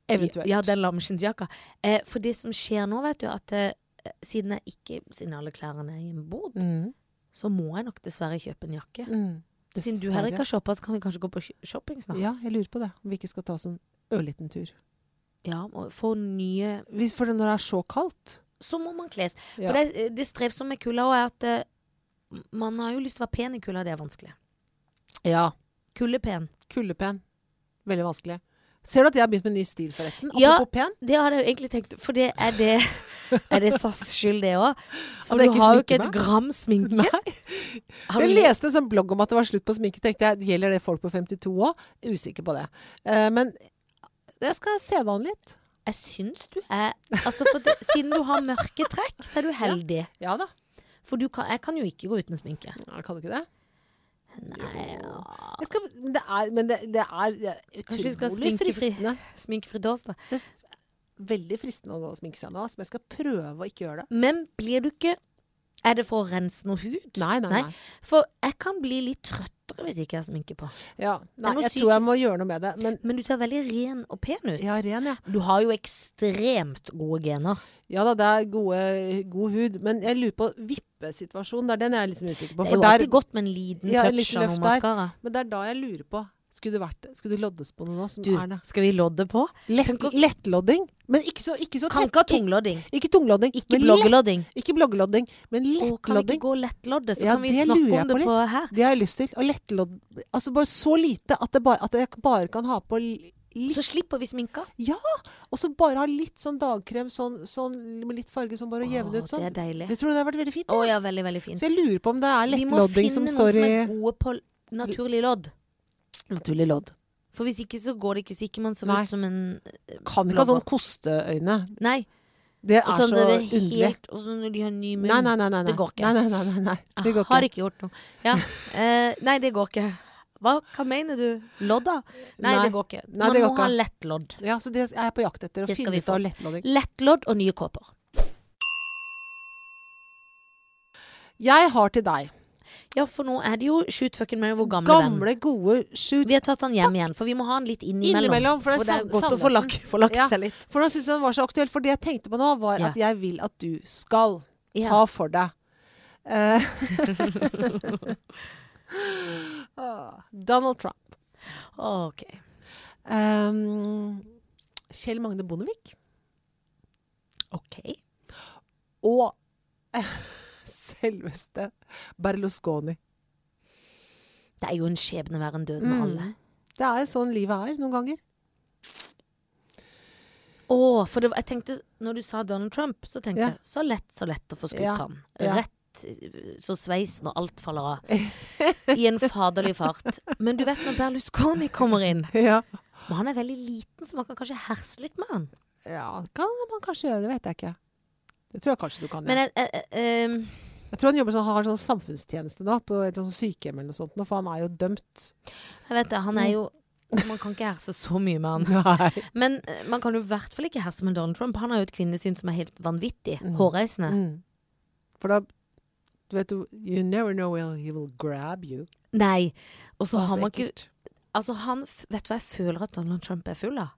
S1: Eventuelt.
S2: Ja, den lammeskinnsjakka. Eh, for det som skjer nå, vet du, at eh, siden jeg ikke Siden alle klærne er hjemmebodd,
S1: Mm.
S2: så må jeg nok dessverre kjøpe en jakke.
S1: Mm.
S2: Siden du
S1: Dessverre.
S2: heller ikke har shoppa, så kan vi kanskje gå på sh- shopping snart. Ja,
S1: Ja, jeg lurer på det. Om vi ikke skal ta oss en ørliten tur.
S2: og få nye
S1: Hvis for når det er så kaldt
S2: Så må man kles.
S1: ja.
S2: For det, eh, det strev som med kulda òg, er at eh, man har jo lyst til å være pen i kulda. Det er vanskelig.
S1: ja.
S2: Kuldepen.
S1: Kuldepen. Veldig vanskelig. Ser du at jeg har begynt med en ny stil, forresten?
S2: Ja.
S1: Apropos pen.
S2: Det hadde jeg jo egentlig tenkt, for det er det Er det SAS skyld, det òg? For
S1: det er
S2: du
S1: ikke
S2: har jo ikke
S1: sminke
S2: et
S1: med?
S2: gram sminke.
S1: Nei.
S2: Har du
S1: Jeg leste en sånn blogg om at det var slutt på sminke. Tenkte jeg, Gjelder det folk på 52 òg? Usikker på det. Eh, men jeg skal se vanlig ut.
S2: Jeg syns du er altså for det, Siden du har mørke trekk, så er du heldig.
S1: Ja da.
S2: For du kan, jeg kan jo ikke gå uten sminke.
S1: Ja, kan du ikke det?
S2: Nei, ja.
S1: Jeg skal, men det er, men det, det er det er
S2: Kanskje vi skal
S1: utrolig
S2: sminke fri-
S1: fristende.
S2: Sminkefri torsdag.
S1: Det er veldig fristende å gå og sminke seg nå, ass, men jeg skal prøve å ikke gjøre det.
S2: Men blir du ikke Er det for å rense noe hud?
S1: Nei, nei,
S2: Nei.
S1: nei.
S2: For jeg kan bli litt trøttere hvis ikke jeg har sminke på.
S1: Ja, nei
S2: noe
S1: jeg tror jeg må gjøre noe med det. Men
S2: Men du ser veldig ren og pen ut.
S1: ja, ren, ja.
S2: Du har jo ekstremt gode gener.
S1: Ja da, det er gode, god hud. Men jeg lurer på vippesituasjonen. Det er den jeg er liksom usikker på.
S2: Det er
S1: For
S2: jo alltid
S1: der,
S2: godt med en liten
S1: Ja, en
S2: touch
S1: liten
S2: av noe
S1: løft der.
S2: maskara.
S1: men det er da jeg lurer på. Skulle det vært det? Skulle det loddes på noe nå? Som
S2: Du,
S1: er det?
S2: skal vi lodde på?
S1: Lett,
S2: tenk oss-
S1: lettlodding. Men ikke så, ikke så
S2: Kan
S1: tett-
S2: ikke ha tunglodding.
S1: i- Ikke tunglodding.
S2: Ikke
S1: men lett-
S2: blogglodding.
S1: Ikke blogglodding, men
S2: Og kan vi ikke
S1: lettlodding.
S2: gå lettloddet, så
S1: Ja,
S2: kan vi
S1: det lurer
S2: snakke
S1: jeg
S2: om det
S1: på
S2: på her.
S1: Det har jeg lyst til. Og lettlodd Altså bare så lite at, det bare, at jeg bare kan ha på li- litt
S2: Så slipper vi sminka.
S1: Ja! Og så bare ha litt sånn dagkrem sånn, sånn med litt farge som bare jevner ut
S2: Å,
S1: sånn.
S2: Det er deilig.
S1: Det tror jeg det har vært veldig fint.
S2: Å
S1: ja.
S2: ja, veldig, veldig fint.
S1: Så jeg lurer på om det er
S2: Vi må
S1: lettlodding
S2: finne
S1: som
S2: noen
S1: står i
S2: som er gode på naturlig lodd.
S1: Naturlig lodd.
S2: For hvis ikke så går det ikke, så ikke man ser
S1: Nei.
S2: ut som en
S1: Kan ikke ha sånn kosteøyne.
S2: Nei.
S1: Det
S2: Og
S1: er
S2: sånn
S1: så
S2: dere
S1: underlig.
S2: helt Og sånn når de har ny munn.
S1: Nei, nei, nei, nei, nei.
S2: Det går ikke.
S1: Nei, nei, nei, nei, nei. Det
S2: Jeg
S1: går
S2: har
S1: ikke.
S2: ikke gjort noe. Ja. Eh, nei, det går ikke. Hva, hva mener du? Lodda? Nei,
S1: Nei.
S2: det går ikke.
S1: Nei,
S2: Man
S1: det går
S2: må ha
S1: ikke.
S2: lettlodd.
S1: Ja, så det er jeg på jakt etter. Å
S2: Det skal
S1: finne
S2: vi
S1: ut av
S2: få.
S1: lettlodding.
S2: Lettlodd og nye kåper.
S1: Jeg har til deg
S2: Ja, for nå er det jo shoot fucking Mary, vår gamle, venn.
S1: gamle, gode shoot
S2: Vi har tatt han hjem igjen, for vi må ha han litt innimellom.
S1: innimellom. For,
S2: For det er godt å få lagt, få lagt
S1: Ja.
S2: seg litt.
S1: For nå syns jeg den var så aktuell. For det jeg tenkte på nå, var
S2: Ja.
S1: at jeg vil at du skal
S2: Ja.
S1: ta for deg eh, Ah, Donald Trump.
S2: Ok.
S1: Ehm, Kjell Magne Bondevik
S2: Ok.
S1: og selveste Berlusconi.
S2: Det er jo en skjebne verre enn
S1: Mm.
S2: døden av alle.
S1: Det er jo sånn livet er noen ganger.
S2: Å, for det, var- jeg tenkte, når du sa Donald Trump, så tenkte
S1: Ja.
S2: jeg så lett, så lett å få skutt
S1: Ja.
S2: han.
S1: Ja.
S2: Rett eh, så sveis når alt faller av. I en faderlig fart. Men du vet når Berlusconi kommer inn
S1: Ja.
S2: Og han er veldig liten, så man kan kanskje herse litt med han.
S1: det kan man kanskje gjøre, det vet jeg ikke. Det tror jeg kanskje du kan.
S2: Men
S1: ja.
S2: jeg, jeg, jeg, em,
S1: Jeg tror han jobber sånn, han har sånn samfunnstjeneste nå, på et sånt sykehjem eller noe sånt, nå, for han er jo dømt.
S2: jeg vet det, han er jo Man kan ikke herse så mye med han.
S1: Nei.
S2: Men eh, man kan jo i hvert fall ikke herse med Donald Trump. Han har jo et kvinnesyn som er helt vanvittig. Hårreisende.
S1: Mm. For da du vet du, You never know when he will grab you.
S2: Nei. Og
S1: Å,
S2: så har man ikke
S1: ekkelt.
S2: Altså, han f- Vet du hva jeg føler at Donald Trump er full av?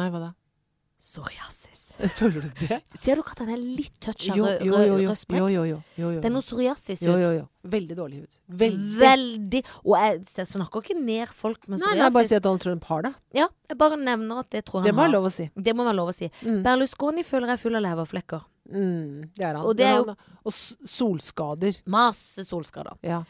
S1: Nei, hva da?
S2: Psoriasis.
S1: Føler du det?
S2: Ser du ikke at han er litt touch av
S1: Jo,
S2: rød-
S1: jo, jo.
S2: rød-
S1: jo,
S2: rødsprekk?
S1: jo, jo, jo, jo, jo.
S2: Det er noe psoriasis
S1: jo,
S2: ut.
S1: jo, jo. Veldig dårlig hud. Veldig.
S2: Veldig. Og jeg, jeg snakker ikke ned folk med
S1: Nei, nei, bare
S2: psoriasis.
S1: si at Donald Trump har det.
S2: Ja, jeg bare nevner at det tror jeg
S1: Det
S2: han
S1: må
S2: har.
S1: være lov Mm. å si.
S2: Det må være lov å si. Berlusconi føler jeg er full av leverflekker.
S1: Mm, det er han.
S2: Og det er jo-
S1: Men han og s- solskader.
S2: Masse solskader.
S1: Ja.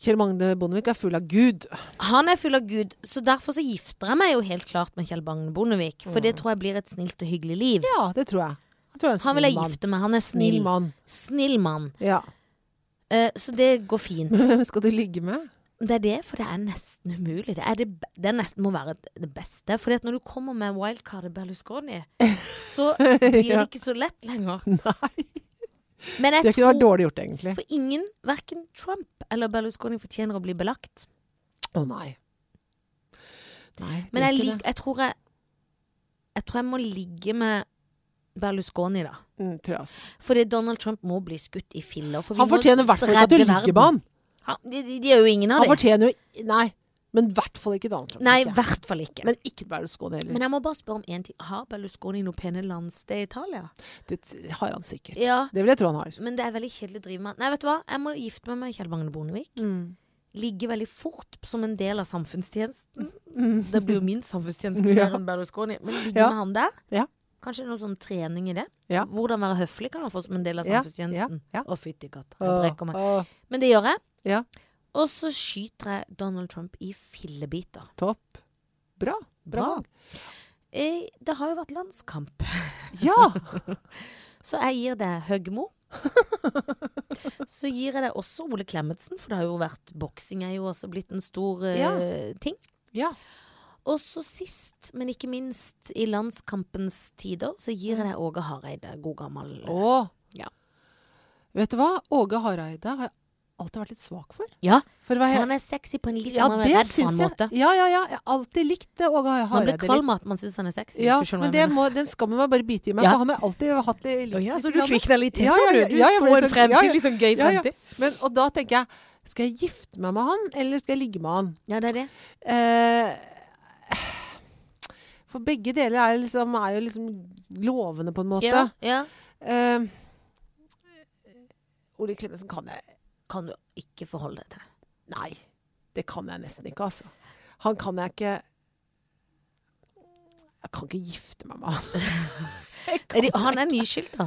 S1: Kjell Magne Bondevik er full av Gud.
S2: Han er full av Gud, så derfor så gifter jeg meg jo helt klart med Kjell Bagne Bondevik. For det tror jeg blir et snilt og hyggelig liv.
S1: Mm. Ja, det tror jeg. jeg tror jeg er en
S2: Han vil jeg
S1: snill mann.
S2: gifte meg. Han er snill.
S1: Snill mann.
S2: Snill mann.
S1: Ja.
S2: Eh, så det går fint.
S1: Men hvem skal du ligge med?
S2: Det er det, for det er nesten umulig. Det, er det, be- det er nesten må være det beste. For når du kommer med wildcardet Berlusconi, så blir det
S1: Ja.
S2: ikke så lett lenger.
S1: Nei.
S2: Men
S1: Det
S2: jeg
S1: kunne vært
S2: tror
S1: dårlig gjort, egentlig.
S2: For ingen, verken Trump eller Berlusconi, fortjener å bli belagt.
S1: Å nei. Nei. det
S2: Men
S1: er
S2: jeg,
S1: ikke
S2: lik, jeg tror jeg Jeg tror jeg må ligge med Berlusconi, da.
S1: det. Mm, tror jeg også.
S2: Fordi Donald Trump må bli skutt i filler. For vi
S1: Han
S2: må
S1: fortjener i hvert fall ikke at du
S2: redde
S1: ligger med
S2: verden.
S1: ham.
S2: Han, de, de, de er jo ingen av
S1: Han
S2: dem.
S1: fortjener jo Nei. Men i hvert fall ikke Donald Trump.
S2: Nei, i
S1: tenker jeg.
S2: hvert fall ikke. Men,
S1: Men ikke Berlusconi heller.
S2: jeg må bare spørre om én ting. Har Berlusconi noe pene landsted i Italia?
S1: Det har han sikkert.
S2: Ja.
S1: Det vil jeg tro han har.
S2: Men det er veldig kjedelig å drive med. Nei, vet du hva? Jeg må gifte meg med Kjell Magne Bondevik.
S1: Mm.
S2: Ligge veldig fort som en del av samfunnstjenesten. Det blir jo min samfunnstjeneste mer
S1: Mm. Ja.
S2: enn Berlusconi. Men ligge
S1: Ja.
S2: med han der.
S1: Ja.
S2: Kanskje noe sånn trening i det.
S1: Ja.
S2: Hvordan være høflig kan han få som en del av
S1: Ja,
S2: samfunnstjenesten.
S1: ja, ja.
S2: Å, fytti katta. Jeg brekker meg.
S1: Åh, åh,
S2: Men det gjør jeg.
S1: Ja.
S2: Og så skyter jeg Donald Trump i fillebiter.
S1: topp. Bra. Bra.
S2: Bra. Eh, Det har jo vært landskamp,
S1: Ja!
S2: så jeg gir det Høgmo. så gir jeg det også Ole Klemetsen, for det har jo vært boksing er jo også blitt en stor eh,
S1: Ja.
S2: ting.
S1: ja.
S2: Og så sist, men ikke minst i landskampens tider, så gir jeg det Åge Hareide, god gammel.
S1: Åh.
S2: Ja.
S1: Vet du hva? Åge Hareide har jeg alltid vært litt svak for.
S2: Ja,
S1: For å være
S2: for
S1: helt
S2: han er sexy på en litt
S1: Ja,
S2: man er
S1: det
S2: redd for
S1: syns
S2: en
S1: jeg.
S2: måte.
S1: Ja, ja, ja. Jeg har alltid likt eh, Åge
S2: Man blir
S1: Hareide litt.
S2: kvalm av at man syns han er sexy.
S1: Ja,
S2: hvis du skjønner
S1: men
S2: hva
S1: det
S2: jeg mener.
S1: må, den skammen må jeg bare bite i meg,
S2: Ja.
S1: for han har jeg alltid hatt det litt.
S2: Å ja, så
S1: litt
S2: du
S1: grann.
S2: kvikna litt til
S1: Ja, ja, ja,
S2: da, du? Du
S1: ja, jeg
S2: så
S1: ble
S2: en
S1: sånn-
S2: fremtid,
S1: ja, ja.
S2: liksom gøy
S1: Ja, ja.
S2: fremtid.
S1: Men, og da tenker jeg, skal jeg gifte meg med han, eller skal jeg ligge med han?
S2: Ja, det er det.
S1: Eh, for begge deler er, liksom, er jo liksom lovende på en måte.
S2: Ja, ja.
S1: Eh, Ole Klemetsen kan jeg
S2: Kan du ikke forholde deg til.
S1: Nei, det kan jeg nesten ikke, altså. Han kan jeg ikke Jeg kan ikke gifte meg med han. Jeg kan
S2: Er de, han
S1: ikke.
S2: er nyskilt, da.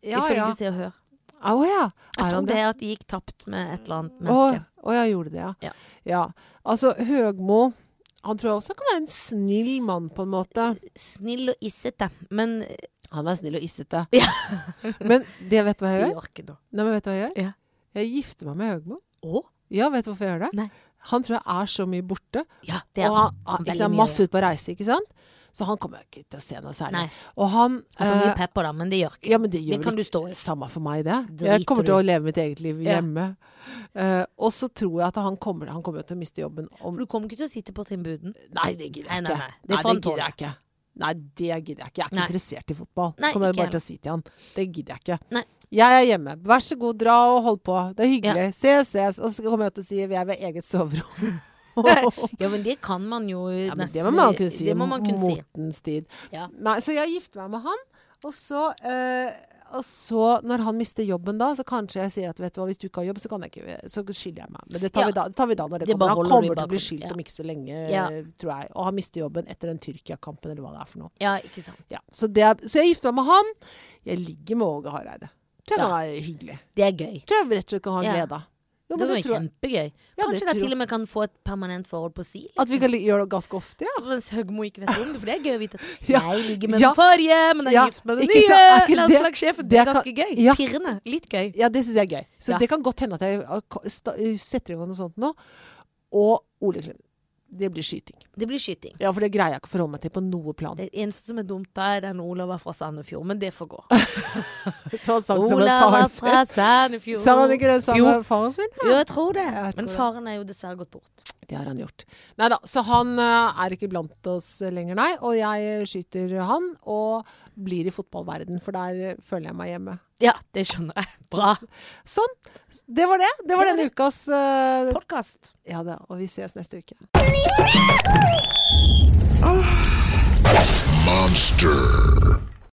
S1: ja,
S2: ifølge
S1: ja.
S2: Se og Hør.
S1: Å ja.
S2: Jeg
S1: Er
S2: tror
S1: han
S2: det
S1: det?
S2: er at de gikk tapt med et eller annet
S1: Å
S2: menneske.
S1: å, ja, gjorde det, ja.
S2: Ja.
S1: Altså, Høgmo Han tror jeg også kan være en snill mann, på en måte.
S2: Snill og issete, men
S1: Han er snill og issete. men det vet du hva
S2: de
S1: jeg gjør?
S2: gjør ikke det.
S1: Nei, men vet du hva jeg gjør?
S2: Ja.
S1: Jeg gifter meg med Høgmo.
S2: Å?
S1: Ja, vet du hvorfor jeg gjør det?
S2: Nei.
S1: Han tror jeg er så mye borte.
S2: Ja, det er
S1: og han, han,
S2: veldig
S1: ah, ikke sant,
S2: mye
S1: masse ut på reise, ikke sant? Så han kommer ikke til å se noe særlig.
S2: Nei.
S1: Og han
S2: Han får mye
S1: eh,
S2: pepper, da, men det gjør ikke
S1: Ja, men det gjør
S2: Det kan
S1: vel
S2: du stå i.
S1: ikke samme for meg, det.
S2: Driter
S1: jeg kommer til
S2: du.
S1: å leve mitt eget liv
S2: Ja.
S1: hjemme. Eh, og så tror jeg at han kommer Han kommer jo til å miste jobben om
S2: For du kommer ikke til å sitte på tribunen.
S1: Nei, det gidder
S2: Nei,
S1: jeg
S2: nei,
S1: ikke.
S2: nei. Det får han
S1: gidder jeg ikke. Nei, det gidder jeg ikke. Jeg er ikke
S2: Nei.
S1: interessert i fotball.
S2: Nei,
S1: kommer
S2: ikke
S1: jeg bare
S2: heller.
S1: til å si til han. Det gidder jeg ikke.
S2: Nei.
S1: Jeg er hjemme. Vær så god, dra og hold på. Det er hyggelig. Ses, ses. Og så kommer jeg til å si vi er ved eget soverom.
S2: Ja, men det kan man jo
S1: ja, men
S2: nesten
S1: det må man kunne si.
S2: Det må man kunne si.
S1: Motens tid.
S2: Ja.
S1: Nei, så jeg gifter meg med han, og så eh, og så, når han mister jobben da, så kanskje jeg sier at vet du hva, hvis du ikke har jobb, så, kan jeg ikke, så skiller jeg meg. Men det tar,
S2: Ja.
S1: vi da, det tar vi da når det,
S2: Det bare
S1: kommer. Han
S2: holder vi
S1: kommer til å bli
S2: bakom,
S1: skilt
S2: ja.
S1: om ikke så lenge, eh,
S2: Ja.
S1: tror jeg. Og han mister jobben etter den Tyrkia-kampen, eller hva det er for noe.
S2: Ja, ikke sant.
S1: Ja, så, det er, så jeg gifter meg med han. Jeg ligger med Åge Hareide. Tror jeg
S2: Ja.
S1: kan være hyggelig.
S2: Det er gøy.
S1: Tror jeg rett og slett kan ha
S2: Ja.
S1: glede av. Jo,
S2: Det
S1: men det
S2: var
S1: tror jeg.
S2: kjempegøy.
S1: Ja, det
S2: Kanskje
S1: tror-
S2: dere
S1: Ah.
S2: til og med kan få et permanent forhold på si?
S1: At vi kan li- gjøre det ganske ofte, ja.
S2: Mens Høgmo ikke vet om det, for det er gøy å vite.
S1: Ja.
S2: Jeg ligger med
S1: Ja.
S2: den forrige, men jeg er
S1: Ja.
S2: gift med den
S1: Ikke så- er ikke
S2: nye
S1: det-
S2: landslagssjefen. Det
S1: det
S2: er
S1: kan-
S2: ganske gøy.
S1: Ja.
S2: Pirrende. Litt gøy.
S1: Ja, det syns jeg er gøy. Så
S2: Ja.
S1: det kan godt hende at jeg eh, ko- sta- eh, setter i gang noe sånt nå. Og Ole Kleven. Det blir skyting.
S2: Det blir skyting.
S1: Ja, for det greier jeg ikke å forholde meg til på noe plan.
S2: Det eneste som er dumt, da er den Olav var fra Sandefjord, men det får gå.
S1: Så han sang som en
S2: Olav
S1: faren
S2: var
S1: sin.
S2: fra Sandefjord.
S1: Sang han ikke den sangen
S2: Jo.
S1: med faren sin?
S2: Jo, jeg tror det.
S1: Jeg tror
S2: Men
S1: det.
S2: faren er jo dessverre gått bort.
S1: Det har han gjort. Nei da, så han eh, er ikke blant oss lenger, nei. Og jeg eh, skyter han, og blir i fotballverden, for der eh, føler jeg meg hjemme.
S2: Ja, det skjønner jeg. Bra.
S1: Sånn. Det var det. Det var denne ukas eh,
S2: Podkast.
S1: Ja da, og vi ses neste uke.
S4: Monster.